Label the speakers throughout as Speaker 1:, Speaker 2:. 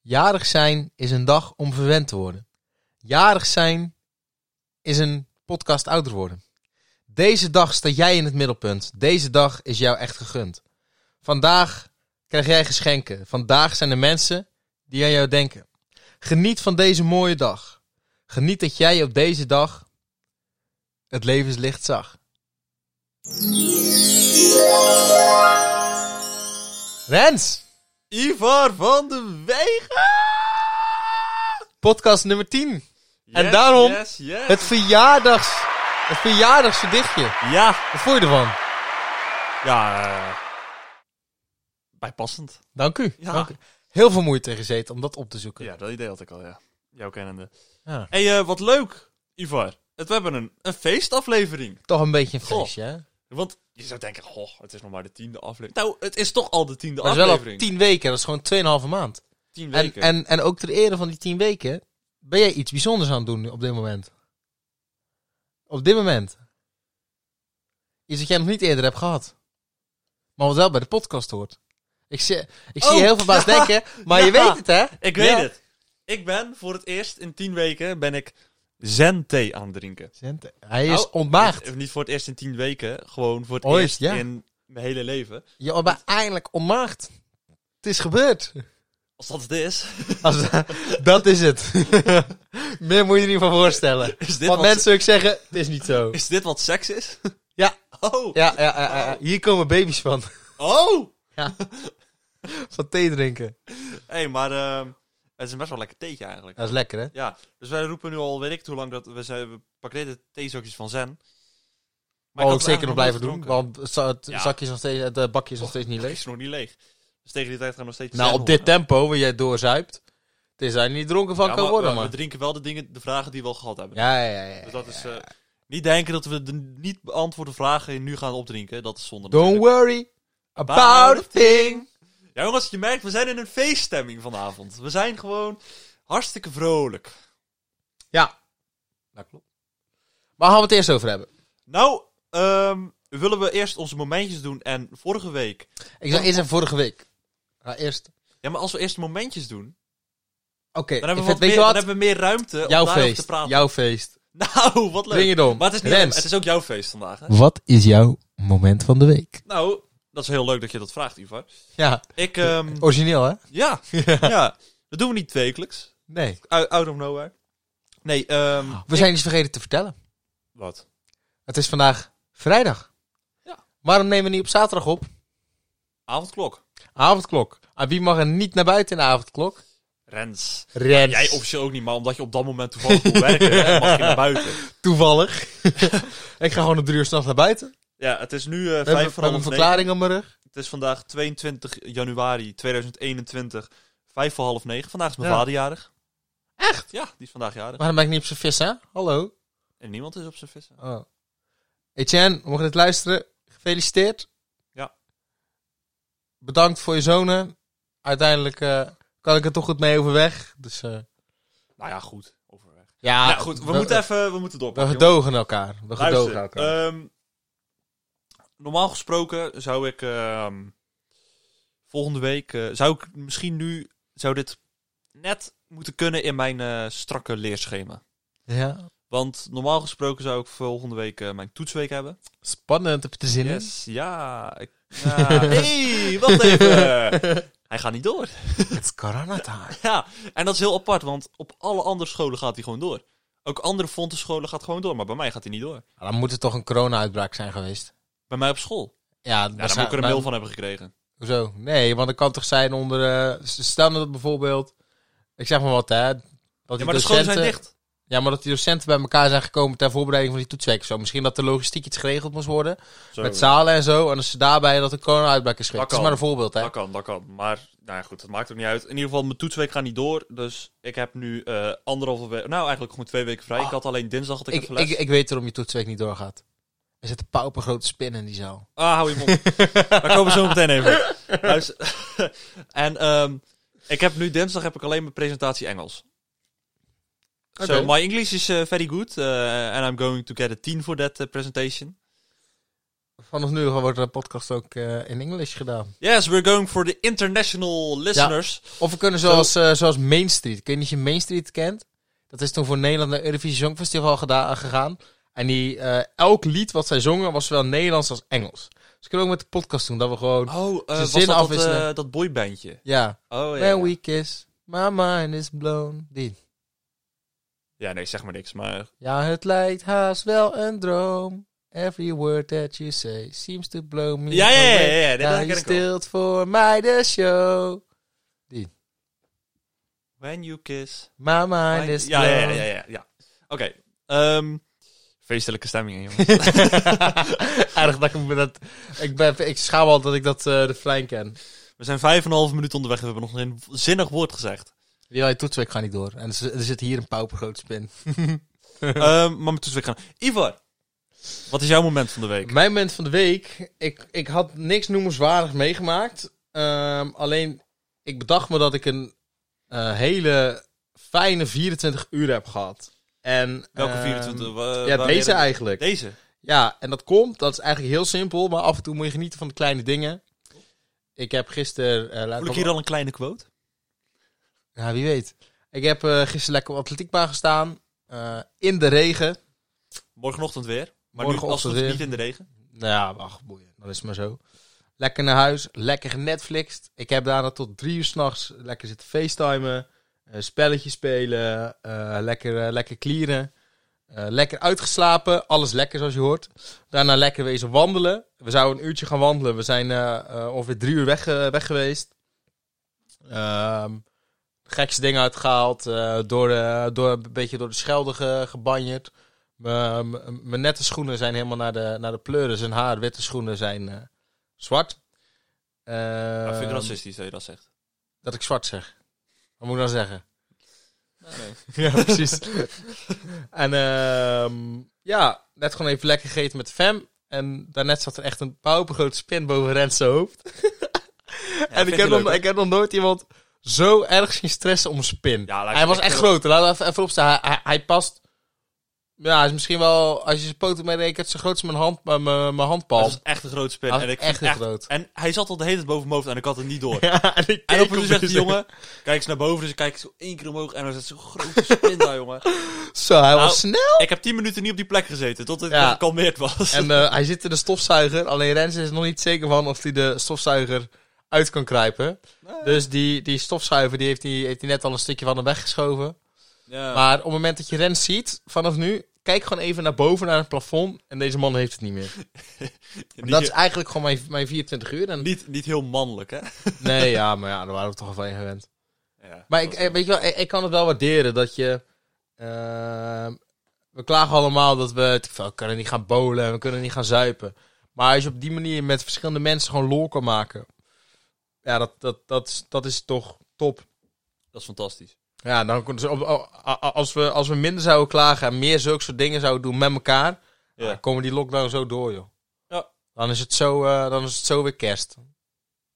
Speaker 1: Jarig zijn is een dag om verwend te worden. Jarig zijn is een podcast ouder worden. Deze dag sta jij in het middelpunt. Deze dag is jou echt gegund. Vandaag krijg jij geschenken. Vandaag zijn er mensen die aan jou denken. Geniet van deze mooie dag. Geniet dat jij op deze dag het levenslicht zag. Rens!
Speaker 2: Ivar van de Wegen.
Speaker 1: Podcast nummer 10. En
Speaker 2: Yes,
Speaker 1: daarom
Speaker 2: yes, yes.
Speaker 1: Het verjaardags... Het verjaardagsverdichtje.
Speaker 2: Ja.
Speaker 1: Wat vond je ervan?
Speaker 2: Ja. eh, bijpassend.
Speaker 1: Dank u.
Speaker 2: Ja.
Speaker 1: Dank u. Heel veel moeite in gezeten om dat op te zoeken.
Speaker 2: Ja, dat idee had ik al, ja. Jouw kennende.
Speaker 1: Ja.
Speaker 2: hey, eh, wat leuk, Ivar. Het, we hebben een, een feestaflevering.
Speaker 1: Toch een beetje een
Speaker 2: Goh.
Speaker 1: feestje, hè?
Speaker 2: Want je zou denken, goh, het is nog maar de tiende aflevering. Nou, het is toch al de tiende
Speaker 1: Dat is wel al
Speaker 2: aflevering.
Speaker 1: tien weken. Dat is gewoon 2,5 maand.
Speaker 2: tien
Speaker 1: En,
Speaker 2: weken.
Speaker 1: en, en ook ter ere van die tien weken ben jij iets bijzonders aan het doen op dit moment. Op dit moment. Iets wat jij nog niet eerder hebt gehad. Maar wat wel bij de podcast hoort. Ik zie, ik zie
Speaker 2: Oh,
Speaker 1: je heel verbaasd
Speaker 2: ja.
Speaker 1: denken, maar je
Speaker 2: Ja.
Speaker 1: weet het hè?
Speaker 2: ik weet
Speaker 1: Ja.
Speaker 2: het. Ik ben voor het eerst in tien weken ben ik zen-thee aan het drinken.
Speaker 1: Centen. Hij is
Speaker 2: Nou,
Speaker 1: ontmaagd.
Speaker 2: Niet, niet voor het eerst in tien weken. Gewoon voor het
Speaker 1: Ooit,
Speaker 2: eerst
Speaker 1: ja.
Speaker 2: in mijn hele leven.
Speaker 1: Je bent eindelijk ontmaagd. Het is gebeurd.
Speaker 2: Als dat het is,
Speaker 1: Als, eh, dat is het. Meer moet je je niet van voorstellen.
Speaker 2: is dit,
Speaker 1: Want
Speaker 2: wat,
Speaker 1: mensen ook zeggen, het is niet zo.
Speaker 2: is dit wat seks is?
Speaker 1: Ja.
Speaker 2: Oh.
Speaker 1: Ja, ja, ja, ja. hier komen baby's van.
Speaker 2: Oh!
Speaker 1: Van thee drinken.
Speaker 2: Hé, hey, maar ehm, het is een best wel lekker theetje eigenlijk.
Speaker 1: Dat is lekker hè?
Speaker 2: Ja, dus wij roepen nu al, weet ik hoe lang, dat we, zijn, we pakken de theezakjes van
Speaker 1: Maar
Speaker 2: Zen. ik
Speaker 1: ik
Speaker 2: had
Speaker 1: ook
Speaker 2: het
Speaker 1: Oh, zeker nog
Speaker 2: eigenlijk
Speaker 1: blijven doen,
Speaker 2: nooit
Speaker 1: want het, za- het
Speaker 2: Ja.
Speaker 1: zakje is nog steeds, het eh, bakje is nog steeds niet
Speaker 2: gedronken.
Speaker 1: leeg.
Speaker 2: is nog niet leeg. Dus tegen die tijd gaan we nog steeds
Speaker 1: Nou,
Speaker 2: Zen
Speaker 1: op dit
Speaker 2: horen.
Speaker 1: tempo, waar jij doorzuipt, het is daar niet dronken van
Speaker 2: Ja,
Speaker 1: kan
Speaker 2: maar eh,
Speaker 1: worden,
Speaker 2: we-
Speaker 1: man.
Speaker 2: We drinken wel de dingen, de vragen die we al gehad hebben.
Speaker 1: Ja, ja, ja. ja.
Speaker 2: Dus dat is... eh, niet denken dat we de niet beantwoorde vragen nu gaan opdrinken. Dat is zonde.
Speaker 1: Don't
Speaker 2: natuurlijk.
Speaker 1: worry about a thing.
Speaker 2: Ja, jongens, je merkt, we zijn in een feeststemming vanavond. We zijn gewoon hartstikke vrolijk.
Speaker 1: Ja. Dat klopt. Waar gaan we het eerst over hebben?
Speaker 2: Nou, ehm, willen we eerst onze momentjes doen. En vorige week
Speaker 1: Ik zou eerst en vorige week. Nou, eerst.
Speaker 2: Ja, maar als we eerst de momentjes doen,
Speaker 1: Oké,
Speaker 2: dan
Speaker 1: ik
Speaker 2: hebben, we
Speaker 1: vind- weet
Speaker 2: wat meer,
Speaker 1: je
Speaker 2: dan
Speaker 1: wat?
Speaker 2: hebben we meer ruimte
Speaker 1: Jouw
Speaker 2: om daarover te
Speaker 1: feest.
Speaker 2: praten.
Speaker 1: Jouw feest.
Speaker 2: Nou, wat leuk.
Speaker 1: Breng het om.
Speaker 2: Maar het is, niet,
Speaker 1: Rens.
Speaker 2: het is ook jouw feest vandaag, hè?
Speaker 1: Wat is jouw moment van de week?
Speaker 2: Nou, dat is heel leuk dat je dat vraagt, Ivar.
Speaker 1: Ja,
Speaker 2: Ik, ehm,
Speaker 1: origineel hè?
Speaker 2: ja, ja, dat doen we niet wekelijks.
Speaker 1: Nee.
Speaker 2: Out, out of nowhere. Nee, ehm
Speaker 1: We zijn iets vergeten te vertellen.
Speaker 2: wat?
Speaker 1: Het is vandaag vrijdag.
Speaker 2: Ja.
Speaker 1: Waarom nemen we niet op zaterdag op?
Speaker 2: Avondklok.
Speaker 1: Avondklok. Aan wie mag er niet naar buiten in de avondklok?
Speaker 2: Rens.
Speaker 1: Rens.
Speaker 2: Jij officieel ook niet, maar omdat je op dat moment toevallig moet werken, hè, mag je naar buiten.
Speaker 1: Toevallig. ik ga gewoon om drie uur s'nachts naar buiten.
Speaker 2: Ja, het is nu eh,
Speaker 1: We hebben,
Speaker 2: vijf
Speaker 1: we
Speaker 2: voor
Speaker 1: hebben een
Speaker 2: half negen.
Speaker 1: verklaring op mijn rug.
Speaker 2: Het is vandaag 22 januari 2021, vijf voor half negen. Vandaag is mijn
Speaker 1: Ja.
Speaker 2: vader jarig.
Speaker 1: Echt?
Speaker 2: Ja, die is vandaag jarig.
Speaker 1: Waarom ben ik niet op zijn vis, hè? Hallo.
Speaker 2: En niemand is op zijn vissen.
Speaker 1: Oh. Etienne, mocht je dit luisteren, gefeliciteerd.
Speaker 2: Ja.
Speaker 1: Bedankt voor je zonen. Uiteindelijk eh, kan ik er toch goed mee overweg. Dus, eh,
Speaker 2: Nou ja, goed. Overweg.
Speaker 1: ja,
Speaker 2: nou goed, we, moeten even we moeten
Speaker 1: We
Speaker 2: doorpakken.
Speaker 1: gedogen elkaar. We
Speaker 2: jongens.
Speaker 1: gedogen
Speaker 2: Luister,
Speaker 1: elkaar.
Speaker 2: ehm, normaal gesproken zou ik ehm, volgende week... eh, zou ik misschien nu... Zou dit net moeten kunnen in mijn eh, strakke leerschema.
Speaker 1: ja.
Speaker 2: Want normaal gesproken zou ik volgende week eh, mijn toetsweek hebben.
Speaker 1: Spannend, heb je er zin in?
Speaker 2: Yes, ja. ik- ja. hey, wacht even. Hij gaat niet door.
Speaker 1: It's corona time.
Speaker 2: Ja, en dat is heel apart, want op alle andere scholen gaat hij gewoon door. Ook andere fontenscholen gaat gewoon door, maar bij mij gaat hij niet door.
Speaker 1: Maar Dan moet er toch een corona-uitbraak zijn geweest?
Speaker 2: Bij mij op school.
Speaker 1: Ja,
Speaker 2: Ja, daar moet ik er een mail van hebben gekregen.
Speaker 1: Hoezo? Nee, want het kan toch zijn onder... eh, s- stel dat bijvoorbeeld... Ik zeg maar wat, hè. Dat die
Speaker 2: Ja, maar de scholen zijn
Speaker 1: docenten-
Speaker 2: dicht.
Speaker 1: Ja, maar dat die docenten bij elkaar zijn gekomen ter voorbereiding van die toetsweek of zo. Misschien dat de logistiek iets geregeld moest worden. Met zalen en zo. En als ze daarbij dat een corona-uitbraak is geweest. Dat
Speaker 2: Dat
Speaker 1: is
Speaker 2: kan.
Speaker 1: maar een voorbeeld, hè.
Speaker 2: Dat kan, dat kan. Maar nou ja, goed, dat maakt ook niet uit. In ieder geval, mijn toetsweek gaat niet door. Dus ik heb nu eh anderhalve week... Nou, eigenlijk gewoon twee weken vrij.
Speaker 1: Ah.
Speaker 2: Ik had alleen dinsdag had ik,
Speaker 1: Ik,
Speaker 2: even les.
Speaker 1: ik, ik weet waarom je toetsweek niet doorgaat. Er zit een paupergrote spin in die zaal.
Speaker 2: Ah, hou je mond. Daar komen we zo meteen even. op. Luister. en ehm, ik heb nu dinsdag heb ik alleen mijn presentatie Engels.
Speaker 1: Oké.
Speaker 2: So my English is eh, very good eh, and I'm going to get a 10 for that eh, presentation.
Speaker 1: Vanaf nu wordt de podcast ook eh, in Engels gedaan.
Speaker 2: Yes, we're going for the international listeners.
Speaker 1: Of we kunnen zoals, eh, zoals Main Street. Ik weet niet of je Main Street kent. Dat is toen voor Nederland naar Eurovisie Songfestival gedaan, gegaan. En die, eh, elk lied wat zij zongen was zowel Nederlands als Engels. Dus kunnen we ook met de podcast doen. Dat we gewoon...
Speaker 2: Oh, eh,
Speaker 1: Ze
Speaker 2: was
Speaker 1: zin
Speaker 2: dat dat,
Speaker 1: afwisselen.
Speaker 2: eh, dat boybandje?
Speaker 1: Ja.
Speaker 2: Oh, ja.
Speaker 1: When we kiss, my mind is blown. Die.
Speaker 2: Ja, nee, zeg maar niks. Maar
Speaker 1: Ja, het lijkt haast wel een droom. Every word that you say seems to blow me
Speaker 2: Ja, ja, ja,
Speaker 1: away.
Speaker 2: ja, ja, dit
Speaker 1: Daar
Speaker 2: ken ik
Speaker 1: je
Speaker 2: wel.
Speaker 1: stilt voor mij de show.
Speaker 2: when you kiss...
Speaker 1: My mind
Speaker 2: I-
Speaker 1: is
Speaker 2: ja, ja, ja,
Speaker 1: blown.
Speaker 2: ja, ja, ja. Oké. ehm, feestelijke stemming, jongen.
Speaker 1: Aardig dat ik me dat... Ik, ben, ik schaam al dat ik dat eh de fijn ken.
Speaker 2: We zijn vijf en een half minuut onderweg en we hebben nog geen zinnig woord gezegd.
Speaker 1: Die wij toetsen, ik ga niet door. En er, zit- er zit hier een paupergroot spin.
Speaker 2: Ehm, maar moeten we gaan. Ivar, wat is jouw moment van de week?
Speaker 1: Mijn moment van de week. Ik, ik had niks noemenswaardig meegemaakt. Ehm, alleen, ik bedacht me dat ik een eh, hele fijne 24 uur heb gehad. En,
Speaker 2: Welke
Speaker 1: ehm,
Speaker 2: 24? wa-
Speaker 1: Ja,
Speaker 2: wanneer-
Speaker 1: deze eigenlijk.
Speaker 2: Deze?
Speaker 1: Ja, en dat komt, dat is eigenlijk heel simpel, maar af en toe moet je genieten van de kleine dingen. Ik heb gisteren... eh, laat
Speaker 2: Voel
Speaker 1: ik
Speaker 2: ik hier al een kleine quote?
Speaker 1: Ja, wie weet. Ik heb eh, gisteren lekker op de atletiekbaan gestaan, eh, in de regen.
Speaker 2: Morgenochtend weer. Maar nu als
Speaker 1: Morgenochtend
Speaker 2: het goed is
Speaker 1: weer.
Speaker 2: niet in de regen.
Speaker 1: Nou ja, ach, boeien. Dat is maar zo. Lekker naar huis, lekker Netflixt. Ik heb daarna tot drie uur s'nachts lekker zitten facetimen. Een spelletje Eh, spelen. eh, lekker, eh, lekker clearen. eh, lekker uitgeslapen. Alles lekker zoals je hoort. Daarna lekker wezen wandelen. We zouden een uurtje gaan wandelen. We zijn eh, eh, ongeveer drie uur weg, eh, weg geweest. Ehm gekste dingen uitgehaald. eh, door, de- door, een beetje door de Schelde ge, gebanjerd. Mijn- Mijn mijn nette schoenen zijn helemaal naar de, naar de pleuren. Zijn haar, witte schoenen zijn eh, zwart. Eh,
Speaker 2: Ja, vind ik racistisch dat je dat zegt.
Speaker 1: dat ik zwart zeg. Wat moet ik dan zeggen?
Speaker 2: nee.
Speaker 1: Ja, precies. en ehm, ja, net gewoon even lekker gegeten met de fam. En daarnet zat er echt een paupergrote spin boven Rens zijn hoofd.
Speaker 2: Ja,
Speaker 1: en
Speaker 2: vind
Speaker 1: ik
Speaker 2: je
Speaker 1: heb,
Speaker 2: leuk,
Speaker 1: nog,
Speaker 2: hè?
Speaker 1: ik heb nog nooit iemand zo erg zien stressen om een spin.
Speaker 2: Ja, lijkt me
Speaker 1: hij was
Speaker 2: echt
Speaker 1: echt
Speaker 2: heel-
Speaker 1: groot. Laat even, even opstaan. Hij, hij, hij past... Ja, hij is misschien wel... Als je zijn poten meerekent, zo groot als mijn, hand, mijn, mijn mijn handpal.
Speaker 2: Dat is echt een groot spin.
Speaker 1: Hij was
Speaker 2: en ik
Speaker 1: echt
Speaker 2: echt
Speaker 1: heel
Speaker 2: echt...
Speaker 1: groot.
Speaker 2: En hij zat al de hele tijd boven mijn hoofd en ik had het niet door.
Speaker 1: Ja, en ik
Speaker 2: En
Speaker 1: keek
Speaker 2: op een
Speaker 1: op
Speaker 2: zegt die
Speaker 1: deze-
Speaker 2: jongen, kijk eens naar boven, dus ik kijk zo één keer omhoog en dan zit zo'n grote spin daar, jongen.
Speaker 1: Zo, hij
Speaker 2: Nou,
Speaker 1: was snel.
Speaker 2: Ik heb tien minuten niet op die plek gezeten, tot het
Speaker 1: Ja.
Speaker 2: gekalmeerd was.
Speaker 1: En eh, hij zit in de stofzuiger. Alleen Rens is er nog niet zeker van of hij de stofzuiger uit kan kruipen.
Speaker 2: Nee.
Speaker 1: Dus die, die stofzuiger die heeft, hij heeft hij net al een stukje van hem weggeschoven.
Speaker 2: ja.
Speaker 1: Maar op het moment dat je Rens ziet, vanaf nu, kijk gewoon even naar boven, naar het plafond. En deze man heeft het niet meer.
Speaker 2: niet,
Speaker 1: dat is eigenlijk gewoon mijn, mijn 24 uur. En...
Speaker 2: niet, niet heel mannelijk, hè?
Speaker 1: Nee, ja, maar ja, daar waren we toch al van gewend.
Speaker 2: Ja,
Speaker 1: Maar
Speaker 2: dat
Speaker 1: ik,
Speaker 2: is
Speaker 1: eh, weet je wel, ik, ik kan het wel waarderen dat je... ehm, we klagen allemaal dat we, te veel- we kunnen niet gaan bowlen, we kunnen niet gaan zuipen. Maar als je op die manier met verschillende mensen gewoon lol kan maken... Ja, dat, dat, dat, is, dat is toch top. eh,
Speaker 2: Dat is fantastisch.
Speaker 1: Ja, dan kon- op- o- a- a- als we, als we minder zouden klagen en meer zulke soort dingen zouden doen met elkaar...
Speaker 2: Ja.
Speaker 1: Dan komen die lockdown zo door, joh.
Speaker 2: Ja.
Speaker 1: Dan is het zo, eh, dan is het zo weer kerst.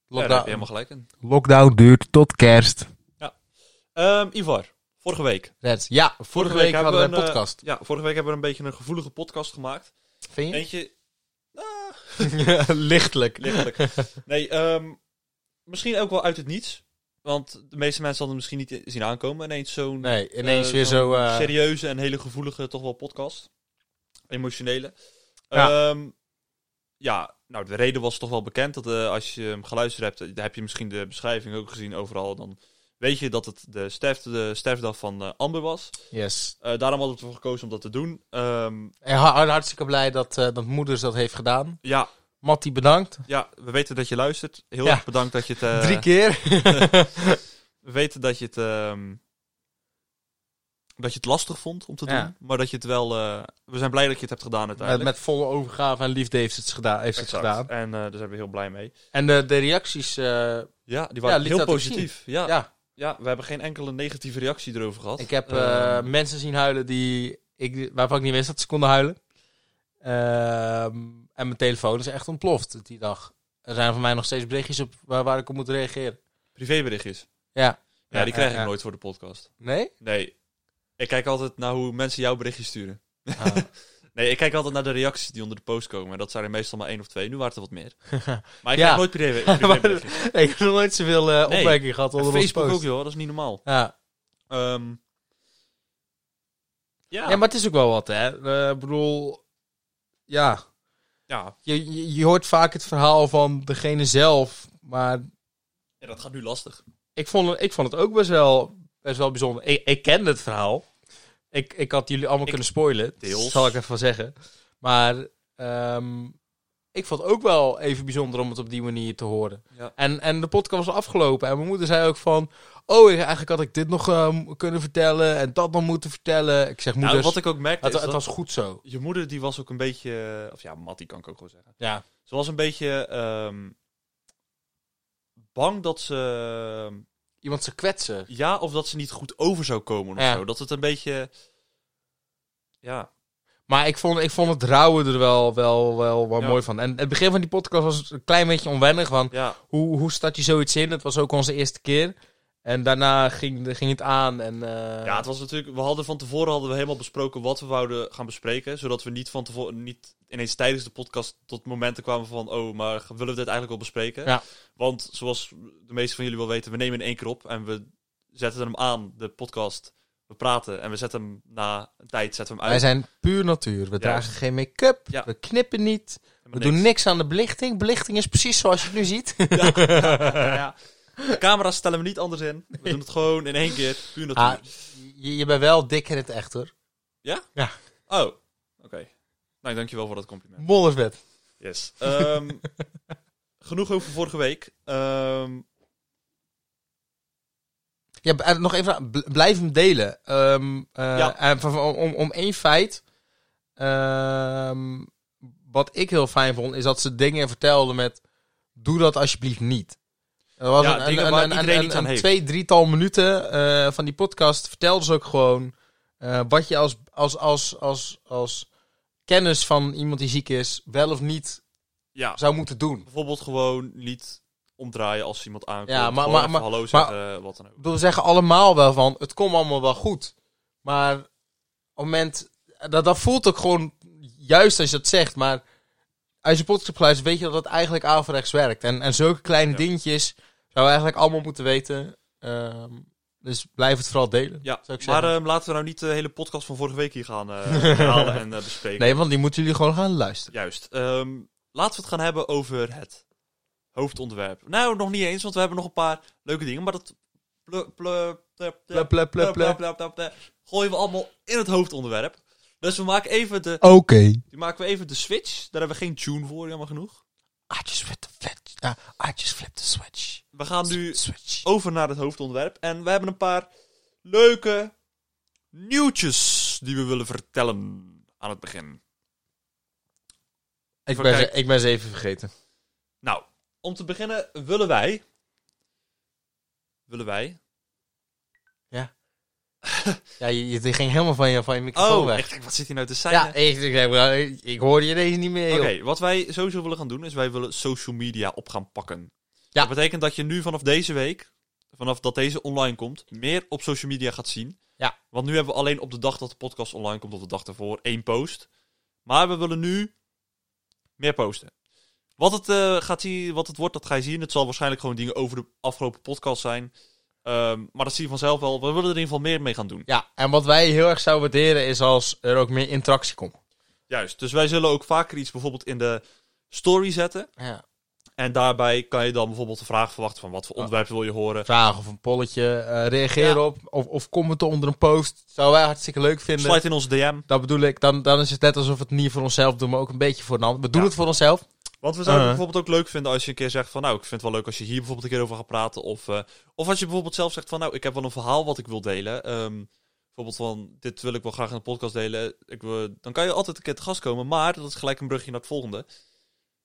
Speaker 2: Ja, daar heb je helemaal gelijk in.
Speaker 1: Lockdown duurt tot kerst.
Speaker 2: Ehm, Ivar, vorige week.
Speaker 1: Red. Ja, vorige, week, hadden we een
Speaker 2: eh,
Speaker 1: podcast.
Speaker 2: ja, vorige week hebben we een beetje een gevoelige podcast gemaakt.
Speaker 1: Vind je?
Speaker 2: Eentje,
Speaker 1: Lichtelijk.
Speaker 2: lichtelijk. nee, ehm, misschien ook wel uit het niets. Want de meeste mensen hadden het misschien niet zien aankomen. Ineens zo'n
Speaker 1: Nee, ineens
Speaker 2: Eh,
Speaker 1: weer
Speaker 2: zo'n
Speaker 1: zo... eh,
Speaker 2: serieuze en hele gevoelige, toch wel podcast. Emotionele.
Speaker 1: Ja.
Speaker 2: Ja. ja, nou, de reden was toch wel bekend. Dat eh, als je hem geluisterd hebt, eh, daar heb je misschien de beschrijving ook gezien overal. Dan weet je dat het de, sterf, de sterfdag van eh, Amber was.
Speaker 1: yes.
Speaker 2: Eh, daarom hadden we ervoor gekozen om dat te doen. Ehm,
Speaker 1: En ha- hartstikke blij dat, eh, dat moeders dat heeft gedaan.
Speaker 2: ja,
Speaker 1: Mattie, bedankt.
Speaker 2: ja, we weten dat je luistert. Heel
Speaker 1: Ja.
Speaker 2: erg bedankt dat je het... eh,
Speaker 1: Drie keer.
Speaker 2: We weten dat je het... ehm, dat je het lastig vond om te doen.
Speaker 1: Ja.
Speaker 2: Maar dat je het wel... eh, we zijn blij dat je het hebt gedaan
Speaker 1: met,
Speaker 2: uiteindelijk.
Speaker 1: met volle overgave en liefde heeft ze het gedaan. Heeft ze het
Speaker 2: Exact.
Speaker 1: gedaan.
Speaker 2: En eh, daar zijn we heel blij mee.
Speaker 1: En de, de reacties... eh,
Speaker 2: Ja, die
Speaker 1: waren
Speaker 2: waren
Speaker 1: liet
Speaker 2: heel
Speaker 1: dat ook
Speaker 2: positief. Ja, ja.
Speaker 1: ja,
Speaker 2: we hebben geen enkele negatieve reactie erover gehad.
Speaker 1: Ik heb
Speaker 2: Ehm,
Speaker 1: eh, mensen zien huilen die ik, waarvan ik niet wist dat ze konden huilen. Ehm, en mijn telefoon is echt ontploft die dag. Er zijn voor mij nog steeds berichtjes op waar, waar ik op moet reageren.
Speaker 2: privéberichtjes.
Speaker 1: Ja.
Speaker 2: Ja, die krijg
Speaker 1: ja,
Speaker 2: ik
Speaker 1: ja.
Speaker 2: nooit voor de podcast.
Speaker 1: Nee?
Speaker 2: Nee. Ik kijk altijd naar hoe mensen jouw berichtjes sturen.
Speaker 1: Ah,
Speaker 2: Nee, ik kijk altijd naar de reacties die onder de post komen. En dat zijn er meestal maar één of twee. Nu waren het er wat meer. Maar ik
Speaker 1: Ja.
Speaker 2: krijg nooit privé. privéberichtjes.
Speaker 1: Ik heb nog nooit zoveel eh
Speaker 2: Nee.
Speaker 1: opmerkingen gehad onder ons
Speaker 2: Facebook
Speaker 1: post.
Speaker 2: ook, joh. Dat is niet normaal.
Speaker 1: Ja.
Speaker 2: Ehm, ja.
Speaker 1: ja, maar het is ook wel wat, hè. Eh, Ik bedoel, ja.
Speaker 2: ja.
Speaker 1: Je, je, je hoort vaak het verhaal van degene zelf, maar
Speaker 2: Ja, dat gaat nu lastig.
Speaker 1: ik vond, het- ik vond het ook best wel, best wel bijzonder. Ik, ik kende het verhaal. Ik, ik had jullie allemaal
Speaker 2: Ik-
Speaker 1: kunnen spoilen.
Speaker 2: Deels.
Speaker 1: Dat zal ik even zeggen. Maar ehm, ik vond het ook wel even bijzonder om het op die manier te horen.
Speaker 2: Ja.
Speaker 1: En, en de podcast was afgelopen. En mijn moeder zei ook van... Oh, ik- eigenlijk had ik dit nog eh, kunnen vertellen. En dat nog moeten vertellen. Ik zeg, moeder,
Speaker 2: Nou, wat ik ook merkte
Speaker 1: het,
Speaker 2: is
Speaker 1: het
Speaker 2: dat
Speaker 1: was goed zo.
Speaker 2: je moeder die was ook een beetje... eh, Of ja, Mattie kan ik ook wel zeggen.
Speaker 1: Ja.
Speaker 2: Ze was een beetje ehm, bang dat ze... ehm,
Speaker 1: Iemand ze kwetsen.
Speaker 2: Ja, of dat ze niet goed over zou komen of
Speaker 1: Ja.
Speaker 2: zo. Dat het een beetje... Ja,
Speaker 1: Maar ik vond, ik vond het rouwen er wel, wel, wel, wel
Speaker 2: Ja.
Speaker 1: mooi van. En het begin van die podcast was een klein beetje onwennig. Want
Speaker 2: ja.
Speaker 1: hoe, hoe start je zoiets in? Het was ook onze eerste keer. En daarna ging, ging het aan. En, eh,
Speaker 2: ja, het was natuurlijk... We hadden van tevoren hadden we helemaal besproken wat we wouden gaan bespreken. Zodat we niet van tevoren... Niet ineens tijdens de podcast tot momenten kwamen van... Oh, maar willen we dit eigenlijk wel bespreken?
Speaker 1: Ja.
Speaker 2: Want zoals de meesten van jullie wel weten... We nemen in één keer op en we zetten hem aan, de podcast. We praten en we zetten hem na een tijd zetten we hem
Speaker 1: Wij
Speaker 2: uit.
Speaker 1: zijn puur natuur. We dragen geen make-up.
Speaker 2: Ja.
Speaker 1: We knippen niet.
Speaker 2: En
Speaker 1: We
Speaker 2: we
Speaker 1: doen
Speaker 2: niks.
Speaker 1: niks aan de belichting. Belichting is precies zoals je het nu ziet.
Speaker 2: Ja. De camera's stellen we niet anders in. We doen het gewoon in één keer. Puur natuur.
Speaker 1: Ah, je, je bent wel dik in het echt hoor.
Speaker 2: Oh, oké. Nou, dankjewel voor dat compliment.
Speaker 1: Mollersbed.
Speaker 2: Yes. Ehm, genoeg over vorige week. Ehm,
Speaker 1: Ja, b- eh, nog even, bl- blijf hem delen. Ehm, eh,
Speaker 2: Ja.
Speaker 1: en van- van- om, om één feit. Ehm, wat ik heel fijn vond, is dat ze dingen vertelden met... Doe dat alsjeblieft niet. Er was
Speaker 2: Ja,
Speaker 1: een,
Speaker 2: dingen
Speaker 1: een,
Speaker 2: waar
Speaker 1: een- een-
Speaker 2: iedereen
Speaker 1: een-
Speaker 2: iets aan
Speaker 1: een
Speaker 2: heeft.
Speaker 1: twee, drietal minuten eh, van die podcast vertelden ze ook gewoon... eh, wat je als, als, als, als, als kennis van iemand die ziek is, wel of niet
Speaker 2: ja,
Speaker 1: zou moeten doen.
Speaker 2: bijvoorbeeld gewoon niet omdraaien als iemand aankomt.
Speaker 1: Ja, maar-
Speaker 2: Gewoon
Speaker 1: maar-
Speaker 2: even
Speaker 1: maar-
Speaker 2: hallo
Speaker 1: maar-
Speaker 2: zeggen, eh, wat dan ook.
Speaker 1: Ik bedoel, we zeggen allemaal wel van, het komt allemaal wel goed. Maar op het moment, dat, dat voelt ook gewoon juist als je dat zegt. Maar als je podcast hebt geluisterd, weet je dat dat eigenlijk averechts werkt. En, en zulke kleine
Speaker 2: Ja.
Speaker 1: dingetjes zouden we eigenlijk allemaal moeten weten. Ehm, dus blijf het vooral delen,
Speaker 2: Ja,
Speaker 1: zou ik
Speaker 2: maar
Speaker 1: zeggen.
Speaker 2: ehm, laten we nou niet de hele podcast van vorige week hier gaan eh, halen en eh, bespreken.
Speaker 1: nee, want die moeten jullie gewoon gaan luisteren.
Speaker 2: Juist. Ehm, laten we het gaan hebben over het hoofdonderwerp. Nou, nog niet eens, want we hebben nog een paar leuke dingen, maar dat... ple- ple- ple- ple-
Speaker 1: Plep, plep, plep,
Speaker 2: Bla,
Speaker 1: plep.
Speaker 2: bla, bla, bla. Gooien we allemaal in het hoofdonderwerp. Dus we maken even de,
Speaker 1: Oké.
Speaker 2: die maken we even de switch. Daar hebben we geen tune voor, jammer genoeg.
Speaker 1: I just flip the switch. Ja, I just flip the switch.
Speaker 2: We gaan nu Oh,
Speaker 1: Switch.
Speaker 2: over naar het hoofdonderwerp. En we hebben een paar leuke nieuwtjes die we willen vertellen aan het begin.
Speaker 1: Ik ben,
Speaker 2: Even
Speaker 1: ze,
Speaker 2: kijken.
Speaker 1: ik ben ze even vergeten.
Speaker 2: Nou, om te beginnen willen wij... Willen wij...
Speaker 1: Ja, je, je- die ging helemaal van je, van je microfoon
Speaker 2: Oh,
Speaker 1: weg.
Speaker 2: echt, wat zit hier nou te zijn?
Speaker 1: Ja, ik, ik, ik- ik hoorde je deze niet meer.
Speaker 2: Oké,
Speaker 1: joh.
Speaker 2: wat wij sowieso willen gaan doen is wij willen social media op gaan pakken.
Speaker 1: Ja.
Speaker 2: Dat betekent dat je nu vanaf deze week, vanaf dat deze online komt, meer op social media gaat zien.
Speaker 1: Ja.
Speaker 2: Want nu hebben we alleen op de dag dat de podcast online komt, of de dag daarvoor, één post. Maar we willen nu meer posten. Wat het, eh, gaat zien, wat het wordt, dat ga je zien. Het zal waarschijnlijk gewoon dingen over de afgelopen podcast zijn. Ehm, maar dat zie je vanzelf wel. We willen er in ieder geval meer mee gaan doen.
Speaker 1: Ja, en wat wij heel erg zouden waarderen is als er ook meer interactie komt.
Speaker 2: Juist. Dus wij zullen ook vaker iets bijvoorbeeld in de story zetten.
Speaker 1: Ja.
Speaker 2: En daarbij kan je dan bijvoorbeeld de vraag verwachten van wat voor onderwerp wil je horen.
Speaker 1: Vragen of een polletje, eh reageer
Speaker 2: Ja.
Speaker 1: op. Of, of commenten onder een post. Zou wij hartstikke leuk vinden.
Speaker 2: Sluit in ons DM.
Speaker 1: Dat bedoel ik, dan, dan is het net alsof we het niet voor onszelf doen, maar ook een beetje voor een ander. We doen
Speaker 2: Ja.
Speaker 1: het voor onszelf.
Speaker 2: Want we zouden
Speaker 1: Uh-huh.
Speaker 2: het bijvoorbeeld ook leuk vinden als je een keer zegt van nou, ik vind het wel leuk als je hier bijvoorbeeld een keer over gaat praten. Of, eh, of als je bijvoorbeeld zelf zegt van nou, ik heb wel een verhaal wat ik wil delen. Ehm, bijvoorbeeld van dit wil ik wel graag in de podcast delen. Ik wil, dan kan je altijd een keer te gast komen, maar dat is gelijk een brugje naar het volgende.